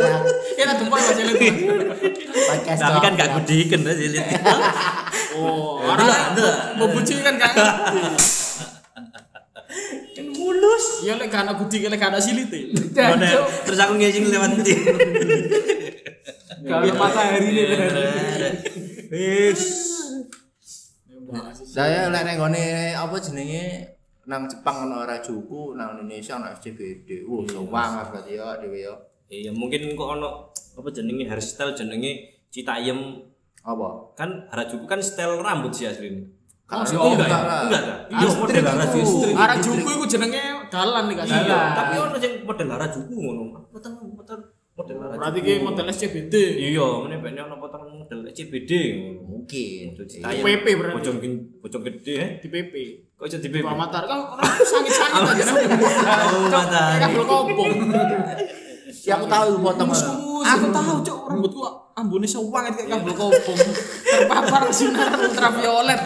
[SPEAKER 2] Nah,
[SPEAKER 3] Kira tumpah aja lagi.
[SPEAKER 2] podcast
[SPEAKER 4] Tapi kan
[SPEAKER 2] dong.
[SPEAKER 4] gak gudiken lah silit.
[SPEAKER 3] Oh, orang mau buci kan kan.
[SPEAKER 4] Kan mulus.
[SPEAKER 3] Ya lek kana gudi lek kana silite.
[SPEAKER 1] Dan,
[SPEAKER 4] Bener.
[SPEAKER 1] Cok,
[SPEAKER 4] Terus aku ngising lewat ndi?
[SPEAKER 1] Kalau matahari ini.
[SPEAKER 4] Wis.
[SPEAKER 2] saya lek nang ngone apa jenenge nang Jepang ono Harajuku nang Indonesia ono SCBD wuh seru banget berarti yo dhewe yo
[SPEAKER 4] Iya, mungkin kok ono apa jenenge hairstyle jenenge Citayem
[SPEAKER 2] apa
[SPEAKER 4] kan Harajuku kan style rambut sih aslinya.
[SPEAKER 2] Kalau
[SPEAKER 1] iya,
[SPEAKER 2] aku
[SPEAKER 1] enggak
[SPEAKER 2] enggak
[SPEAKER 4] ya?
[SPEAKER 2] lah.
[SPEAKER 4] Enggak lah.
[SPEAKER 2] Ah,
[SPEAKER 4] Iya,
[SPEAKER 2] strip
[SPEAKER 4] model
[SPEAKER 2] itu.
[SPEAKER 4] Harajuku.
[SPEAKER 3] Harajuku iku jenenge dalan nih kan.
[SPEAKER 4] Iya, tapi ono sing model Harajuku ngono. Potong potong model Harajuku.
[SPEAKER 3] Berarti ki model SCBD.
[SPEAKER 4] Iya, meneh bene ono potong model CBD ngono.
[SPEAKER 2] mungkin
[SPEAKER 4] Model
[SPEAKER 2] Iya.
[SPEAKER 4] Citayem.
[SPEAKER 3] PP berarti.
[SPEAKER 4] Pocong gen- pocong gede eh.
[SPEAKER 3] Di PP.
[SPEAKER 4] Kok jadi
[SPEAKER 3] Di
[SPEAKER 4] BB?
[SPEAKER 3] Pamatar kan orang sangit-sangit aja nang.
[SPEAKER 4] Oh,
[SPEAKER 3] Kayak
[SPEAKER 4] matahari.
[SPEAKER 3] belum kopong.
[SPEAKER 2] ya aku tahu iku potong
[SPEAKER 3] Aku tahu cok rambutku ambune sewanget kayak kabel kopong. Terpapar sinar ultraviolet.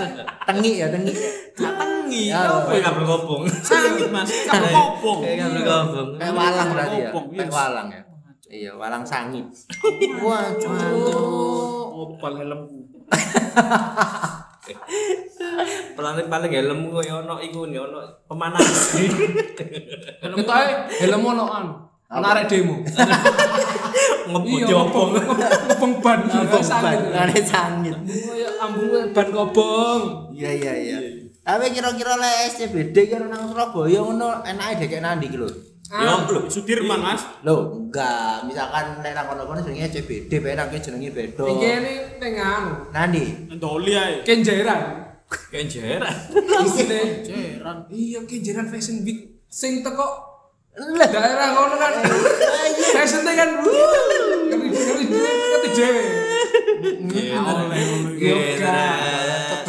[SPEAKER 2] tengi ya tengi
[SPEAKER 3] Katengi.
[SPEAKER 2] Ya,
[SPEAKER 3] Apa
[SPEAKER 4] Kayak
[SPEAKER 3] ya?
[SPEAKER 4] kabel kopong.
[SPEAKER 3] Sangit Mas, kabel kopong.
[SPEAKER 4] Kayak kabel kopong.
[SPEAKER 2] kayak walang berarti ya
[SPEAKER 3] Kopong, iya.
[SPEAKER 2] kayak walang ya iya walang sangit wah cuk
[SPEAKER 3] Opal helmku.
[SPEAKER 4] paling paling helmmu koyo ono iku yo ono pemanas.
[SPEAKER 1] Ketae helm ono an. Ana arek demo.
[SPEAKER 4] Ngebut
[SPEAKER 1] Iya,
[SPEAKER 4] jopong.
[SPEAKER 1] Ngepeng ban.
[SPEAKER 2] Ambung ban,
[SPEAKER 1] Sakit.
[SPEAKER 2] ngane sangit.
[SPEAKER 1] Kaya ambung ban kobong.
[SPEAKER 2] Iya iya iya. Tapi kira-kira le SCBD kira nang Surabaya ngono enake dekek nandi ki lho.
[SPEAKER 3] Yo, lho, Ya, Sudirman, Mas.
[SPEAKER 2] Lho, enggak. Misalkan nek nang kono-kono jenenge SCBD, pengen nang kene jenenge beda.
[SPEAKER 1] Iki ini pengen
[SPEAKER 2] Nandi.
[SPEAKER 3] Ndoli ae.
[SPEAKER 1] kenjeran.
[SPEAKER 4] Kayak jeran.
[SPEAKER 1] Isine
[SPEAKER 3] Jeran.
[SPEAKER 1] Iya, kenjeran Fashion Week sing teko
[SPEAKER 2] Lah,
[SPEAKER 1] daerah kono kan. Fashionnya kan. Kali kali kate dhewe.
[SPEAKER 3] Ya,
[SPEAKER 1] Yoga.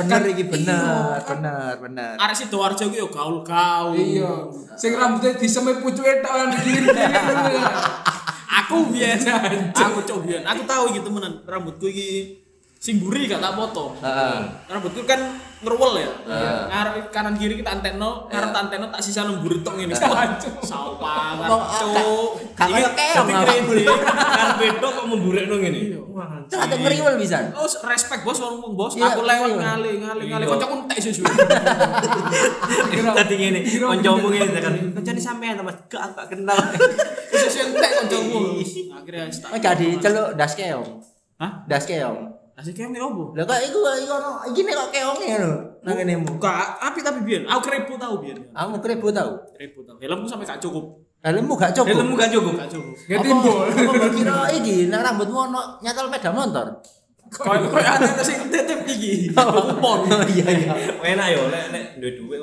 [SPEAKER 2] bener iki bener, bener, bener.
[SPEAKER 3] Arek Sidoarjo ku yo gaul-gaul.
[SPEAKER 1] Iya. Sing rambutnya disemir pucuke tok kan kiri-kiri.
[SPEAKER 3] Aku biyen aku cobian. Aku tahu iki temenan rambutku iki sing buri gak tak potong.
[SPEAKER 2] Heeh.
[SPEAKER 3] Rambutku kan ngeruwel ya.
[SPEAKER 2] Heeh.
[SPEAKER 4] Iya.
[SPEAKER 3] Ngarep kanan kiri kita antekno, ngarep antekno tak sisa lembur tok ngene. Sampah
[SPEAKER 2] Kok,
[SPEAKER 3] cuk.
[SPEAKER 2] gak- gak
[SPEAKER 3] Iki
[SPEAKER 2] kaya keong,
[SPEAKER 3] dadi
[SPEAKER 2] apa?
[SPEAKER 3] kredit.
[SPEAKER 4] Kan beda kok memburekno ngene. Wah,
[SPEAKER 2] Terus ada ngeriwel pisan.
[SPEAKER 3] Iya. Oh, respect bos, warung bos.
[SPEAKER 2] Iya,
[SPEAKER 3] Aku lewat
[SPEAKER 2] iya.
[SPEAKER 3] ngali, ngali, ngali.
[SPEAKER 4] Iya.
[SPEAKER 3] Kocok entek sih. Su.
[SPEAKER 4] Tadi ngene,
[SPEAKER 1] Kira-
[SPEAKER 4] kancamu ngene kan. Kancane sampean Mas, gak aku gak kenal.
[SPEAKER 3] Khusus yang entek kocokmu. Akhirnya start.
[SPEAKER 2] Oh, gak diceluk das keong.
[SPEAKER 3] Hah?
[SPEAKER 2] Das keong.
[SPEAKER 3] Asik kayak nih obo.
[SPEAKER 2] Lah kok iku iku ono iki nek kok keong ya lho. Nang ngene mu.
[SPEAKER 3] Buka api tapi biar. Aku keriput tahu biar.
[SPEAKER 2] Aku krebo tau.
[SPEAKER 3] Keriput tahu. Helmku sampai gak cukup.
[SPEAKER 2] Helmmu gak cukup.
[SPEAKER 4] Helmmu gak cukup.
[SPEAKER 3] Gak cukup.
[SPEAKER 1] Gak
[SPEAKER 2] Apa-
[SPEAKER 1] timbul.
[SPEAKER 2] apa mbok kira iki nang rambutmu ono nyatel sepeda motor.
[SPEAKER 3] Kayak kayak ada sing tetep iki.
[SPEAKER 2] Kupon. Iya iya.
[SPEAKER 4] Enak yo lek nek duwe duwe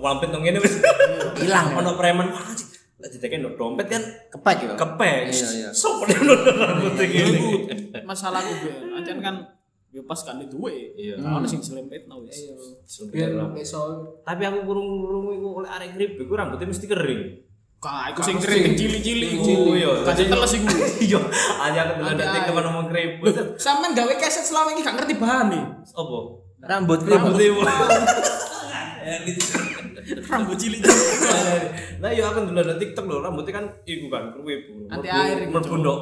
[SPEAKER 4] wampet nang ngene wis.
[SPEAKER 2] Hilang.
[SPEAKER 4] Ono preman wah sih. Lek diteken no dompet kan
[SPEAKER 2] Kepek ya.
[SPEAKER 4] kepek.
[SPEAKER 2] Iya, iya.
[SPEAKER 4] Sopo nek ono rambut ngene.
[SPEAKER 3] Iku masalahku biar. Acan kan yo pas kan duwe.
[SPEAKER 4] Iya.
[SPEAKER 3] Ono sing selempet tau wis.
[SPEAKER 1] Biar iso.
[SPEAKER 4] Tapi aku kurung-kurung iku oleh arek ngribe iku rambutnya mesti kering.
[SPEAKER 3] Kak, iku sing
[SPEAKER 1] Kak, sing-
[SPEAKER 3] kering
[SPEAKER 4] Oh,
[SPEAKER 3] cili-cili iku.
[SPEAKER 4] iya.
[SPEAKER 3] Kaca teles iku.
[SPEAKER 4] Iya, aja aku tenan
[SPEAKER 3] Ada
[SPEAKER 4] nek
[SPEAKER 3] ae.
[SPEAKER 4] tekan ngomong keriput.
[SPEAKER 3] Loh, Sampean gawe keset selama ini gak ngerti e. bahane.
[SPEAKER 4] Apa?
[SPEAKER 2] Rambut
[SPEAKER 4] Rambutnya
[SPEAKER 2] krebo.
[SPEAKER 4] mulai. Elit.
[SPEAKER 3] Rambut cili-cili.
[SPEAKER 4] Lah yo aku ndelok nang TikTok lho, rambutnya kan iku kan keriput.
[SPEAKER 3] Anti air gitu.
[SPEAKER 4] Mergo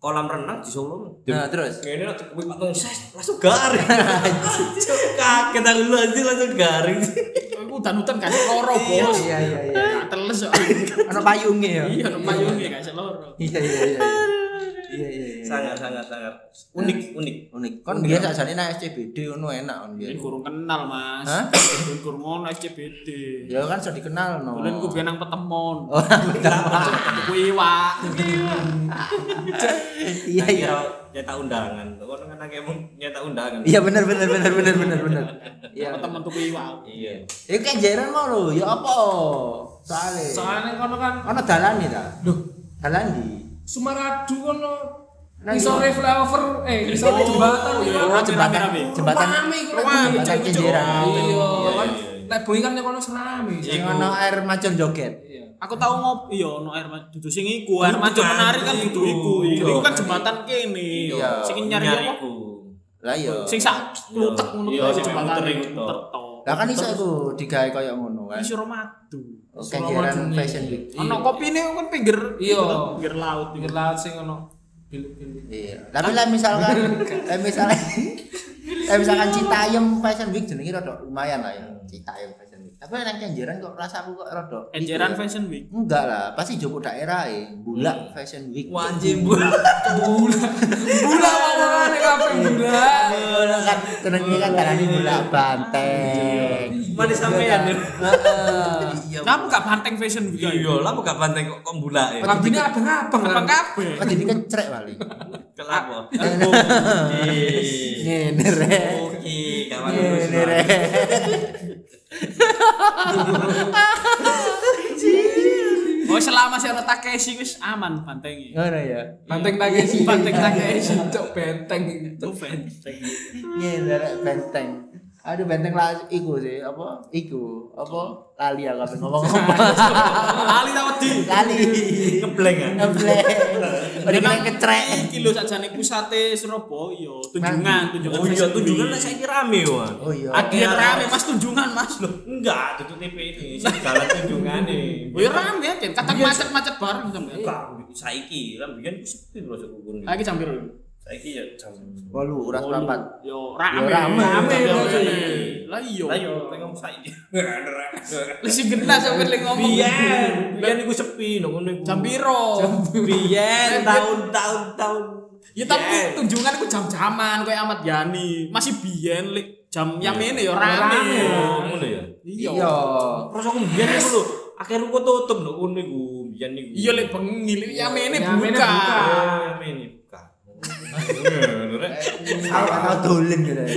[SPEAKER 4] kolam renang di Solo.
[SPEAKER 2] Nah, terus
[SPEAKER 4] Ini nanti gue patung ses, langsung garing. Kaget aku lu anjing, langsung garing.
[SPEAKER 3] Iku udan-udan gak loro, Bos.
[SPEAKER 2] Iya iya iya.
[SPEAKER 3] Gak teles soalnya.
[SPEAKER 2] Ono payunge ya.
[SPEAKER 3] Iya, payung ya gak loro.
[SPEAKER 2] Iya iya iya. Iya iya iya.
[SPEAKER 4] Sangat sangat sangat unik unik.
[SPEAKER 2] Unik. Kon biar sajane nang SCBD ono enak kon biar.
[SPEAKER 3] Ini kurang kenal, Mas.
[SPEAKER 2] Hah?
[SPEAKER 3] Ini kurang ngono SCBD.
[SPEAKER 2] Ya kan sudah dikenal no.
[SPEAKER 3] Kulen ku biyen nang petemon.
[SPEAKER 2] Oh,
[SPEAKER 3] Ku iwak.
[SPEAKER 2] iya iya.
[SPEAKER 4] Kira Nyata undangan. Kau kan akeh mung nyata undangan.
[SPEAKER 2] Iya benar benar benar benar benar benar. Iya.
[SPEAKER 3] Petemon tuku iwak.
[SPEAKER 4] Iya.
[SPEAKER 2] Iku kan jaran mau lho, ya apa? Soale.
[SPEAKER 1] Soalnya kono kan
[SPEAKER 2] Ono dalan ta?
[SPEAKER 1] Loh.
[SPEAKER 2] Dalan di.
[SPEAKER 1] Sumaradu kono
[SPEAKER 2] Nah,
[SPEAKER 1] iso
[SPEAKER 2] iya.
[SPEAKER 1] flyover eh iso jembatan
[SPEAKER 3] iya.
[SPEAKER 1] iku.
[SPEAKER 2] Oh, jembatan
[SPEAKER 3] rame.
[SPEAKER 2] jembatan
[SPEAKER 1] Rame iku
[SPEAKER 3] Rame,
[SPEAKER 1] rame.
[SPEAKER 2] jembatan
[SPEAKER 3] cuy,
[SPEAKER 2] Kenjeran.
[SPEAKER 1] Iya,
[SPEAKER 4] Iya,
[SPEAKER 1] kan
[SPEAKER 4] iya, iya.
[SPEAKER 1] lek bengi kan nek kono serame.
[SPEAKER 2] Sing ono air macun joget.
[SPEAKER 1] Iya.
[SPEAKER 3] Aku tau ngopi yo ono air mancur dudu sing iku, air
[SPEAKER 4] Dudu
[SPEAKER 3] mancur
[SPEAKER 4] kan,
[SPEAKER 3] menarik kan
[SPEAKER 4] Oh, iku.
[SPEAKER 3] dudu iku.
[SPEAKER 4] Iya.
[SPEAKER 3] Iku kan jembatan kene.
[SPEAKER 2] Iya.
[SPEAKER 3] Sing nyari apa?
[SPEAKER 4] ku.
[SPEAKER 2] Lah iya.
[SPEAKER 3] Sing sak lutek ngono
[SPEAKER 4] Iya,
[SPEAKER 3] kuwi
[SPEAKER 4] sing
[SPEAKER 3] jembatan
[SPEAKER 4] muter iku
[SPEAKER 3] iku.
[SPEAKER 4] tok.
[SPEAKER 2] Lah kan iso iku digawe koyo ngono kan.
[SPEAKER 3] Iso romadu.
[SPEAKER 2] Oke, jaran fashion week.
[SPEAKER 3] Ono kopine kan pinggir
[SPEAKER 1] Iya.
[SPEAKER 3] iku toh, pinggir laut iku.
[SPEAKER 1] Pinggir laut sing ono bilik-bilik.
[SPEAKER 2] Iya. Tapi lah misalkan eh misalkan eh misalkan Citayam Fashion Week jenenge rada lumayan lah ya. Citayam Fashion Week. Tapi nang Kenjeran kok rasaku kok rada
[SPEAKER 3] Enjeran Fashion Week.
[SPEAKER 2] Enggak lah, pasti jopo daerah ya. Bulak Fashion Week.
[SPEAKER 4] Wajib bulan.
[SPEAKER 2] Iya.
[SPEAKER 1] Bula ngomongane kabeh bula.
[SPEAKER 2] Ngono kan jenenge kan dalane bulak Banteng.
[SPEAKER 4] Mana sampean ya?
[SPEAKER 2] Heeh.
[SPEAKER 4] Iya.
[SPEAKER 3] Kenapa gak banteng Fashion Week?
[SPEAKER 4] Iya,
[SPEAKER 3] ayo?
[SPEAKER 4] lah kok gak banteng kok kok bulak ya.
[SPEAKER 1] Rambine abang-abang.
[SPEAKER 3] Apa
[SPEAKER 1] kan?
[SPEAKER 3] kabeh?
[SPEAKER 2] Kok jadi kecrek paling.
[SPEAKER 3] Ah.
[SPEAKER 4] Kelapa.
[SPEAKER 3] Iya.
[SPEAKER 2] Ngene rek.
[SPEAKER 4] Oke, kawan terus.
[SPEAKER 2] Ngene rek.
[SPEAKER 3] Oh selama si ono Takeshi wis aman bantengnya.
[SPEAKER 2] Ngono ya.
[SPEAKER 1] Banteng Takeshi,
[SPEAKER 3] Banteng Takeshi.
[SPEAKER 1] cok benteng.
[SPEAKER 3] Itu benteng.
[SPEAKER 2] Ngene rek benteng. Aduh benteng lah iku sih apa? Iku apa? Lali aku apa ngomong-ngomong.
[SPEAKER 3] Ali tau di.
[SPEAKER 2] Lali.
[SPEAKER 4] Ngebleng kan.
[SPEAKER 2] Ngeblek. Udah kena kecrek.
[SPEAKER 3] Iki lho sajane pusate Surabaya, tunjungan,
[SPEAKER 2] Mang.
[SPEAKER 3] tunjungan.
[SPEAKER 4] Oh iya,
[SPEAKER 3] Fashion
[SPEAKER 4] tunjungan
[SPEAKER 3] Week.
[SPEAKER 4] lah saya rame, Wan.
[SPEAKER 2] Oh iya.
[SPEAKER 3] Ada yang rame Mas tunjungan Mas lho.
[SPEAKER 4] Enggak, tutup TV ini. Jalan tunjungan eh. nih.
[SPEAKER 3] Oh ya rame ya, Jen. Kadang macet-macet bareng sampe.
[SPEAKER 4] Enggak, saiki lah biyen ku sepi lho sok kuwi.
[SPEAKER 3] Lagi campur.
[SPEAKER 4] Saiki ya jam.
[SPEAKER 2] Walu uras
[SPEAKER 3] Wolu.
[SPEAKER 2] papat.
[SPEAKER 3] Yo Oh, rame.
[SPEAKER 2] Yo, rame,
[SPEAKER 3] berarti.
[SPEAKER 4] rame.
[SPEAKER 3] Lah iya.
[SPEAKER 4] Lah yo pengen saiki.
[SPEAKER 3] Lah sing genah sampe lek ngomong.
[SPEAKER 4] Biyen, biyen iku Iya, sepi no ngono iku.
[SPEAKER 3] Iya. Jam piro?
[SPEAKER 4] biyen
[SPEAKER 3] Eh,
[SPEAKER 4] tahun-tahun tahun. Iya.
[SPEAKER 3] Ya tapi tunjungan iku jam-jaman koyo Ahmad Yani. Masih biyen lek jam yang ini yo
[SPEAKER 4] rame
[SPEAKER 3] rame.
[SPEAKER 4] ngono ya.
[SPEAKER 2] Iya.
[SPEAKER 4] Terus aku biyen iku lho, akhir ruko tutup lho ngono iku biyen iku.
[SPEAKER 3] Iya lek bengi lek yang ini
[SPEAKER 1] Yang ini
[SPEAKER 3] buka.
[SPEAKER 1] buka.
[SPEAKER 4] Eh, men, ini buka. Ngono, rek.
[SPEAKER 2] Aku tau dolen gitu.
[SPEAKER 4] Eh,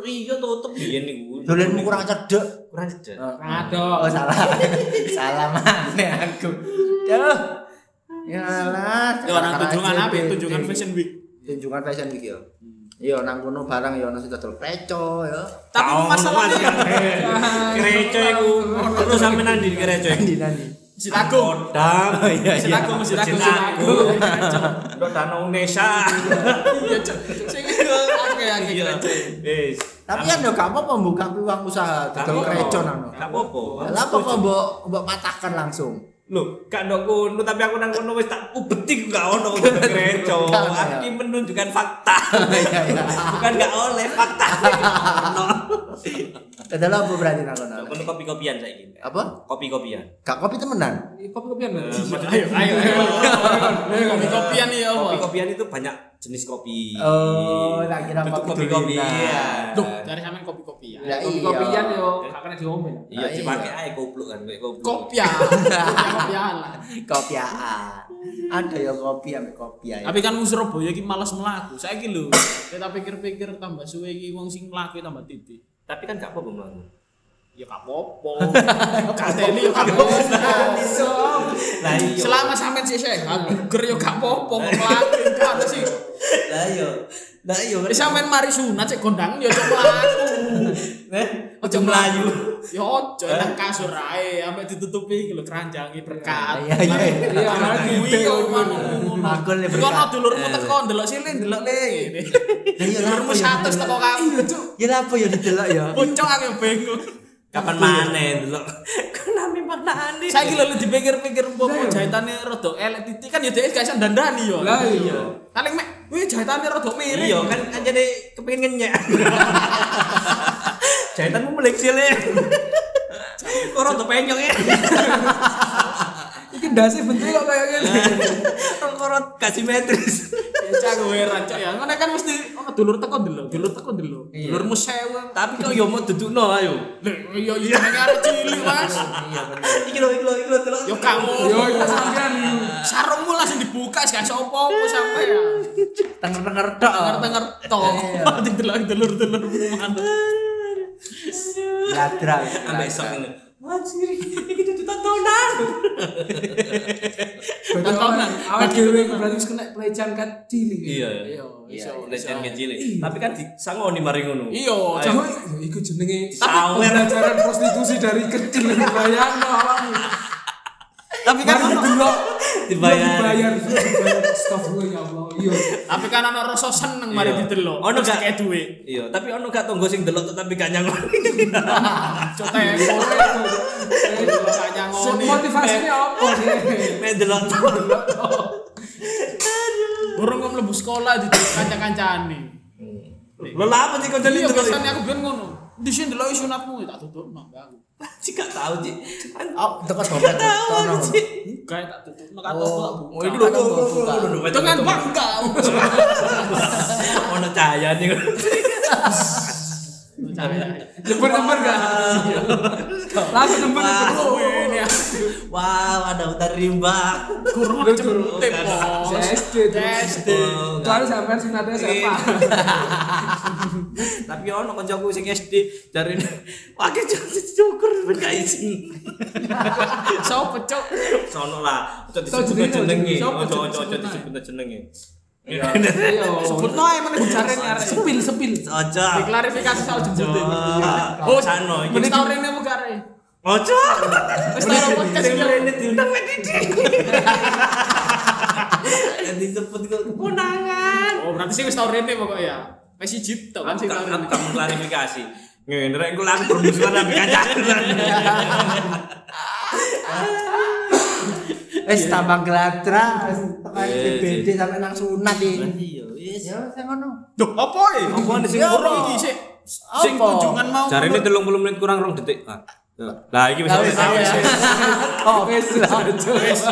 [SPEAKER 4] Iya tutup biyen iku.
[SPEAKER 2] Dolenmu kurang cedek.
[SPEAKER 4] kurang cedek.
[SPEAKER 1] Aduh.
[SPEAKER 2] Oh salah. salah mana aku. Duh. Ya lah.
[SPEAKER 3] Yo nang tunjungan
[SPEAKER 2] Cara-cara
[SPEAKER 3] apa?
[SPEAKER 2] aja,
[SPEAKER 3] Tunjungan
[SPEAKER 2] Dek.
[SPEAKER 3] Fashion Week.
[SPEAKER 2] Tunjungan fashion week yo. Iya nang kono barang yo ono sing dodol kreco yo.
[SPEAKER 3] Tapi masalahnya Iya.
[SPEAKER 4] Gereja iku terus sampe nang di gereja iku.
[SPEAKER 2] Di nani.
[SPEAKER 3] Sitagung.
[SPEAKER 4] Kodam.
[SPEAKER 2] iya
[SPEAKER 3] Sitagung, sitagung, sitagung.
[SPEAKER 4] Ndok Danau Nesa.
[SPEAKER 3] Iya, Cok. Sing akeh-akeh
[SPEAKER 4] Iya.
[SPEAKER 3] gereja.
[SPEAKER 4] Wis.
[SPEAKER 2] Tapi kan yo gak apa-apa buka peluang usaha dodol kreco nang. kono.
[SPEAKER 4] Gak apa-apa.
[SPEAKER 2] Lah apa kok mbok mbok patahkan langsung?
[SPEAKER 4] Loh, gak ndok kono tapi aku nang kono wis tak ubeti gak ono untuk gereja.
[SPEAKER 2] Gak ono, ya.
[SPEAKER 4] Aku ini menunjukkan fakta.
[SPEAKER 2] Iya iya.
[SPEAKER 4] Bukan gak oleh fakta. Ono.
[SPEAKER 2] Dodol apa berarti nang kono?
[SPEAKER 4] Ndok Kono kopi-kopian saiki.
[SPEAKER 2] Apa?
[SPEAKER 4] Kopi-kopian.
[SPEAKER 2] Gak kopi temenan.
[SPEAKER 1] Kopi-kopian
[SPEAKER 4] Eh,
[SPEAKER 1] lho.
[SPEAKER 4] maksudnya
[SPEAKER 3] Ayo, ayo, ayo. Kopi kopian ya, apa?
[SPEAKER 4] Kopi-kopian itu banyak jenis kopi.
[SPEAKER 2] Oh, tak kira
[SPEAKER 4] Bentuk iya.
[SPEAKER 2] kopi dominan.
[SPEAKER 4] kopi-kopian.
[SPEAKER 3] Duh, dari sampean kopi-kopian.
[SPEAKER 2] Ya, iya.
[SPEAKER 1] Kopi-kopian yo gak kena diomel.
[SPEAKER 4] Iya,
[SPEAKER 2] Nah,
[SPEAKER 4] dipakai ae goblok kan kayak goblok.
[SPEAKER 3] Kopian. Kopian lah.
[SPEAKER 2] Kopiaan. Ada ya kopi ambek kopi ya.
[SPEAKER 3] Tapi kan wong Surabaya iki malas mlaku. Saiki lho, kita Ya, pikir-pikir tambah suwe iki wong sing mlaku ya tambah titik.
[SPEAKER 4] Tapi kan gak apa-apa mlaku.
[SPEAKER 3] Ya gak apa-apa. Katene ya gak apa-apa.
[SPEAKER 4] Lah iya.
[SPEAKER 3] Selama sampean sih sehat, buger ya gak apa-apa kok mlaku kan sih.
[SPEAKER 4] Lah iya. Lah iya.
[SPEAKER 3] Wis sampean mari sunat cek gondang ya cok mlaku.
[SPEAKER 4] Eh, ojo mlayu.
[SPEAKER 3] Ya ojo
[SPEAKER 2] Eh?
[SPEAKER 3] nang kasur ae sampe ditutupi iki lho keranjangi berkat.
[SPEAKER 2] Iya iya.
[SPEAKER 1] Iya, lagi.
[SPEAKER 3] Kuwi kok ngono.
[SPEAKER 2] Makul le
[SPEAKER 3] Iku ana
[SPEAKER 2] berkat. Eh.
[SPEAKER 3] dulurmu teko ndelok sile ndelok le.
[SPEAKER 2] Lah iya,
[SPEAKER 3] Dulurmu
[SPEAKER 2] lah, iya,
[SPEAKER 3] 100 teko
[SPEAKER 2] bener.
[SPEAKER 3] kamu.
[SPEAKER 2] Ya lah apa ya didelok ya.
[SPEAKER 3] Bocok aku yang bingung.
[SPEAKER 4] Kapan maneh delok. Kenapa maknane?
[SPEAKER 3] Saiki lho dipikir-pikir popo jahitane rada elek titik kan ya dhek gak iso dandani yo.
[SPEAKER 1] Lah iya.
[SPEAKER 3] Paling mek wih jahitane rada miring.
[SPEAKER 4] Iya kan anjane kepengin ngenyek. Jahitanmu melek sile. Orang tuh penyok ya.
[SPEAKER 1] Iki ndase bentuke kok kayak ngene.
[SPEAKER 4] Orang gak simetris.
[SPEAKER 3] Ya cak gue heran cak ya. Ngono kan mesti ono dulur teko ndelok, dulur teko ndelok. Dulurmu sewu.
[SPEAKER 4] Tapi kok yo mau dudukno ayo.
[SPEAKER 3] Lho iya iya jenenge arek cilik Mas.
[SPEAKER 4] Iki lho iki lho iki lho delok.
[SPEAKER 3] Yo kamu.
[SPEAKER 1] Yo iki sampean.
[SPEAKER 3] sarungmu langsung dibuka gak iso apa-apa sampean.
[SPEAKER 2] Tenger-tenger tok.
[SPEAKER 3] Ngerti-ngerti to. Mati delok dulur-dulur mana.
[SPEAKER 2] Ladra.
[SPEAKER 4] Ambek esok ngene. Wah, siri, iki dudu tontonan.
[SPEAKER 3] Tontonan.
[SPEAKER 1] Awak dhewe iku berarti wis kena pelecehan kan cilik.
[SPEAKER 4] Iya.
[SPEAKER 3] Iya
[SPEAKER 2] Iya,
[SPEAKER 3] iso.
[SPEAKER 4] Lecehan kecil. Tapi kan disangoni mari ngono.
[SPEAKER 3] Iya,
[SPEAKER 1] Cuma
[SPEAKER 3] cak.
[SPEAKER 1] iku jenenge
[SPEAKER 4] Sawer.
[SPEAKER 1] pembelajaran prostitusi dari kecil bayangno awakmu.
[SPEAKER 4] Tapi kan
[SPEAKER 1] Mari didelok.
[SPEAKER 4] Dibayar.
[SPEAKER 1] Iya, Dibayar. Dibayar. Astagfirullah ya Allah. Iya.
[SPEAKER 3] Tapi kan ana rasa seneng mari
[SPEAKER 4] Iya.
[SPEAKER 3] didelok.
[SPEAKER 4] Ono
[SPEAKER 3] Terus
[SPEAKER 4] gak-
[SPEAKER 3] dikei duit.
[SPEAKER 4] Iya, tapi ono gak tonggo sing delok tapi gak nyangoni.
[SPEAKER 3] Cotek.
[SPEAKER 1] Boleh itu. Eh,
[SPEAKER 3] Makanya ngoni.
[SPEAKER 1] Motivasinya apa sih?
[SPEAKER 4] Mek delok tok.
[SPEAKER 3] Burung kok mlebu sekolah di kanca-kancane.
[SPEAKER 4] Lho lha apa sih kok
[SPEAKER 3] Jadi
[SPEAKER 4] jadi
[SPEAKER 3] ya
[SPEAKER 4] delok?
[SPEAKER 3] biasanya aku bilang ngono. Di sini delok isu sunatmu tak tutup nang aku.
[SPEAKER 4] Cik gak tau, Cik. Kan
[SPEAKER 2] Oh, teko dompet. Tono.
[SPEAKER 3] Enggak tak tutup nang aku tak
[SPEAKER 2] Oh, oh,
[SPEAKER 3] buka.
[SPEAKER 2] ini lho, lho, lho, lho, lho.
[SPEAKER 3] Dengan bangga.
[SPEAKER 4] Ono cahayane kok.
[SPEAKER 1] Nyember-nyember gak? Langsung nyember-nyember
[SPEAKER 4] Wah.
[SPEAKER 1] Oh,
[SPEAKER 4] Wow, ada hutan rimba.
[SPEAKER 3] Guru
[SPEAKER 1] Guru.
[SPEAKER 3] jemput
[SPEAKER 1] Si
[SPEAKER 3] bos.
[SPEAKER 1] SD tuh.
[SPEAKER 3] SD.
[SPEAKER 4] Oh, gak.
[SPEAKER 1] Kecuali sampean sunatnya siapa?
[SPEAKER 4] Tapi ono kancaku sing SD jarine pakai cukur ben gak izin.
[SPEAKER 3] Sopo cok?
[SPEAKER 4] Sono lah, ojo
[SPEAKER 1] jenenge,
[SPEAKER 4] disebut jenenge.
[SPEAKER 1] ojo-
[SPEAKER 4] Ojo ojo ojo
[SPEAKER 1] ojo
[SPEAKER 4] disebut jenenge.
[SPEAKER 1] Iya.
[SPEAKER 3] Sebut noe meneh bicarane arek. Sepil sepil.
[SPEAKER 4] Ojo.
[SPEAKER 3] Diklarifikasi soal jemputin.
[SPEAKER 4] Oh, sano iki.
[SPEAKER 3] Ini tau rene apa gak Re?
[SPEAKER 4] Ojo.
[SPEAKER 3] Wis tau apa podcast
[SPEAKER 4] Sing
[SPEAKER 3] iki?
[SPEAKER 4] rene diundang Mek Didi. Yang disebut kok keponangan.
[SPEAKER 3] Oh, berarti sih wis tau rene pokoknya ya. Wis siji tok kan sing tau rene.
[SPEAKER 4] Kamu klarifikasi. Ngene rek engko langsung bermusuhan ambek kancaku.
[SPEAKER 2] Wis tambah geladra. Tekan
[SPEAKER 4] Iya,
[SPEAKER 2] BBD sampe nang sunat iki.
[SPEAKER 4] Iya, wis.
[SPEAKER 2] Ya sing ngono.
[SPEAKER 3] Duh, apa ya? Hubungan sing
[SPEAKER 2] Ya,
[SPEAKER 3] kurang
[SPEAKER 2] apa?
[SPEAKER 3] iki sih. Sing
[SPEAKER 2] Apa?
[SPEAKER 3] kunjungan mau.
[SPEAKER 4] Cari ini telung puluh menit kurang rong detik. Ah. Lah iki wis
[SPEAKER 2] Wis, wis, wis. Oh, wis lah. Wis.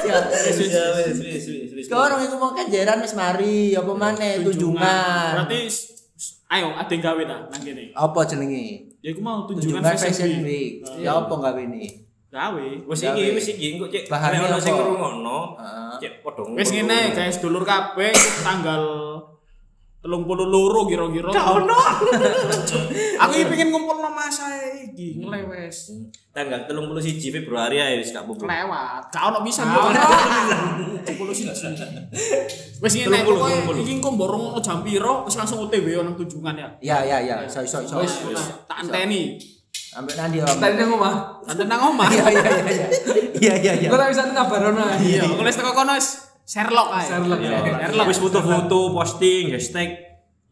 [SPEAKER 2] Ya, wis, wis.
[SPEAKER 4] wis wis wis.
[SPEAKER 2] Kau orang iku mau kejaran wis mari apa maneh tunjungan.
[SPEAKER 3] Berarti s- s- ayo ada yang gawe ta nang kene.
[SPEAKER 2] Apa jenenge?
[SPEAKER 3] Ya iku mau tunjungan
[SPEAKER 2] Tunjungan Fashion
[SPEAKER 3] Week.
[SPEAKER 2] Week. Ya apa gawe ini?
[SPEAKER 3] Gawe.
[SPEAKER 4] Wis iki wis iki engko cek.
[SPEAKER 2] Bahannya
[SPEAKER 4] Nek ono
[SPEAKER 2] apa?
[SPEAKER 4] sing
[SPEAKER 2] Ah.
[SPEAKER 4] ngrungokno.
[SPEAKER 2] Heeh.
[SPEAKER 4] Cek padha.
[SPEAKER 3] Wis ngene guys, dulur kabeh tanggal 30 loro kira-kira. Aku iki pengen ngumpulno masa iki ngelewes.
[SPEAKER 4] Tanggal 31 Februari ae wis gak apa-apa.
[SPEAKER 3] Lewat. Gak ono bisa. Sepuluh siji. Wis ngene
[SPEAKER 4] 30,
[SPEAKER 3] pokoke
[SPEAKER 4] 30.
[SPEAKER 3] iki engko borong ono jam piro wis langsung OTW ono tunjungan ya.
[SPEAKER 2] Ya ya ya, iso iso iso.
[SPEAKER 3] Wis wis. tak anteni.
[SPEAKER 2] Ambek nandi
[SPEAKER 1] Tadi
[SPEAKER 2] om.
[SPEAKER 1] nang omah.
[SPEAKER 3] Nanti nang omah.
[SPEAKER 2] Iya iya iya iya. Iya iya iya.
[SPEAKER 1] Gue tak bisa ngabar ono.
[SPEAKER 3] Iya, aku les teko kono wis Sherlock ae. Iya,
[SPEAKER 1] Sherlock.
[SPEAKER 4] Ya,
[SPEAKER 3] Erlang.
[SPEAKER 4] wis foto-foto posting hashtag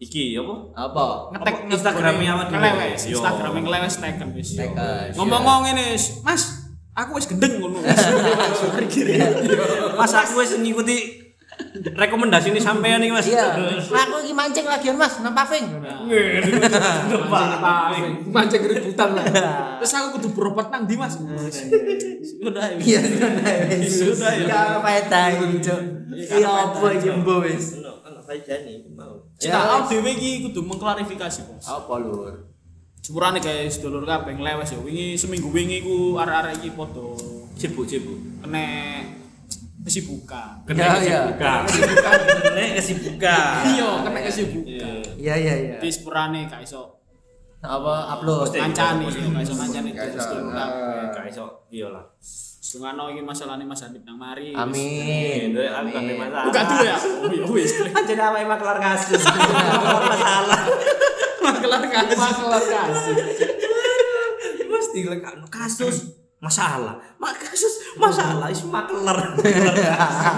[SPEAKER 4] iki apa?
[SPEAKER 2] Apa?
[SPEAKER 3] Ngetek
[SPEAKER 4] Apa Instagram-nya awak dhewe?
[SPEAKER 3] ngelewes.
[SPEAKER 4] Yo.
[SPEAKER 3] Instagram ngelewes teken wis. yo.
[SPEAKER 2] Teken.
[SPEAKER 3] Ngomong-ngomong ngene, wis, Mas, aku wis gendeng ngono. wis. Sorry, kiri.
[SPEAKER 4] Mas aku wis ngikuti rekomendasi ini sampean iki Mas.
[SPEAKER 2] Iya. Lah, Aku iki mancing lagi Mas, nang paving.
[SPEAKER 1] Mancing keributan lah.
[SPEAKER 3] Terus aku kudu berobat nang ndi, Mas? Sudah.
[SPEAKER 2] Iya, sudah ya. Ya apa eta iki, Cuk? Ya apa iki mbo wis? Ya.
[SPEAKER 4] Ono ono saya jani mau.
[SPEAKER 3] Cita aku dhewe iki kudu mengklarifikasi, Bos.
[SPEAKER 2] Apa lur?
[SPEAKER 3] Jurane guys, dulur kabeh ngelewes ya. Wingi seminggu wingi ku arek-arek iki podo
[SPEAKER 4] Sibuk sibuk.
[SPEAKER 3] kene kesibukan.
[SPEAKER 2] Ya,
[SPEAKER 4] Kena
[SPEAKER 2] ya.
[SPEAKER 4] kesibukan. Kena kesibukan.
[SPEAKER 3] Iya, kena kesibukan.
[SPEAKER 2] Iya iya iya.
[SPEAKER 3] Di sepurane gak iso
[SPEAKER 2] Apa upload?
[SPEAKER 4] Mesti.
[SPEAKER 3] kancane, gak iso kancane
[SPEAKER 2] Gak
[SPEAKER 3] terus
[SPEAKER 2] iso,
[SPEAKER 3] dulur
[SPEAKER 2] nah.
[SPEAKER 3] kabeh.
[SPEAKER 4] Gak iso iya lah.
[SPEAKER 3] ya, Sungano iki masalahne Mas Hanif nang mari.
[SPEAKER 2] Amin.
[SPEAKER 4] Iya, aku gak
[SPEAKER 2] Amin.
[SPEAKER 4] masalah.
[SPEAKER 3] Buka dulu ya. Oh ya wis.
[SPEAKER 4] Anjir apa emang kelar kasus. Masalah.
[SPEAKER 3] Makelar kasih. Makelar kasih.
[SPEAKER 4] Mesti lekakno kasus masalah. Mak kasus masalah is makelar.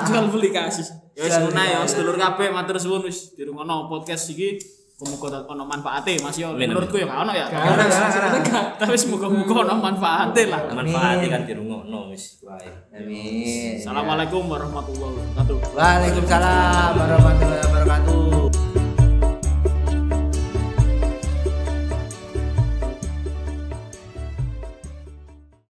[SPEAKER 3] Jual beli kasih. Ya wis
[SPEAKER 2] Jual
[SPEAKER 3] ngono
[SPEAKER 2] beli
[SPEAKER 3] ya,
[SPEAKER 2] kasih.
[SPEAKER 3] sedulur kabeh matur suwun wis dirungono podcast iki. Muga-muga ono manfaate Mas yo.
[SPEAKER 4] Amin,
[SPEAKER 3] Menurutku ya gak ono ya.
[SPEAKER 1] ono, gak ono, gak ono.
[SPEAKER 3] Gak. Tapi muga-muga ono manfaate lah.
[SPEAKER 4] Manfaatnya kan dirungokno wis wae.
[SPEAKER 2] Amin.
[SPEAKER 3] Iya. Assalamualaikum warahmatullahi wabarakatuh.
[SPEAKER 2] Waalaikumsalam warahmatullahi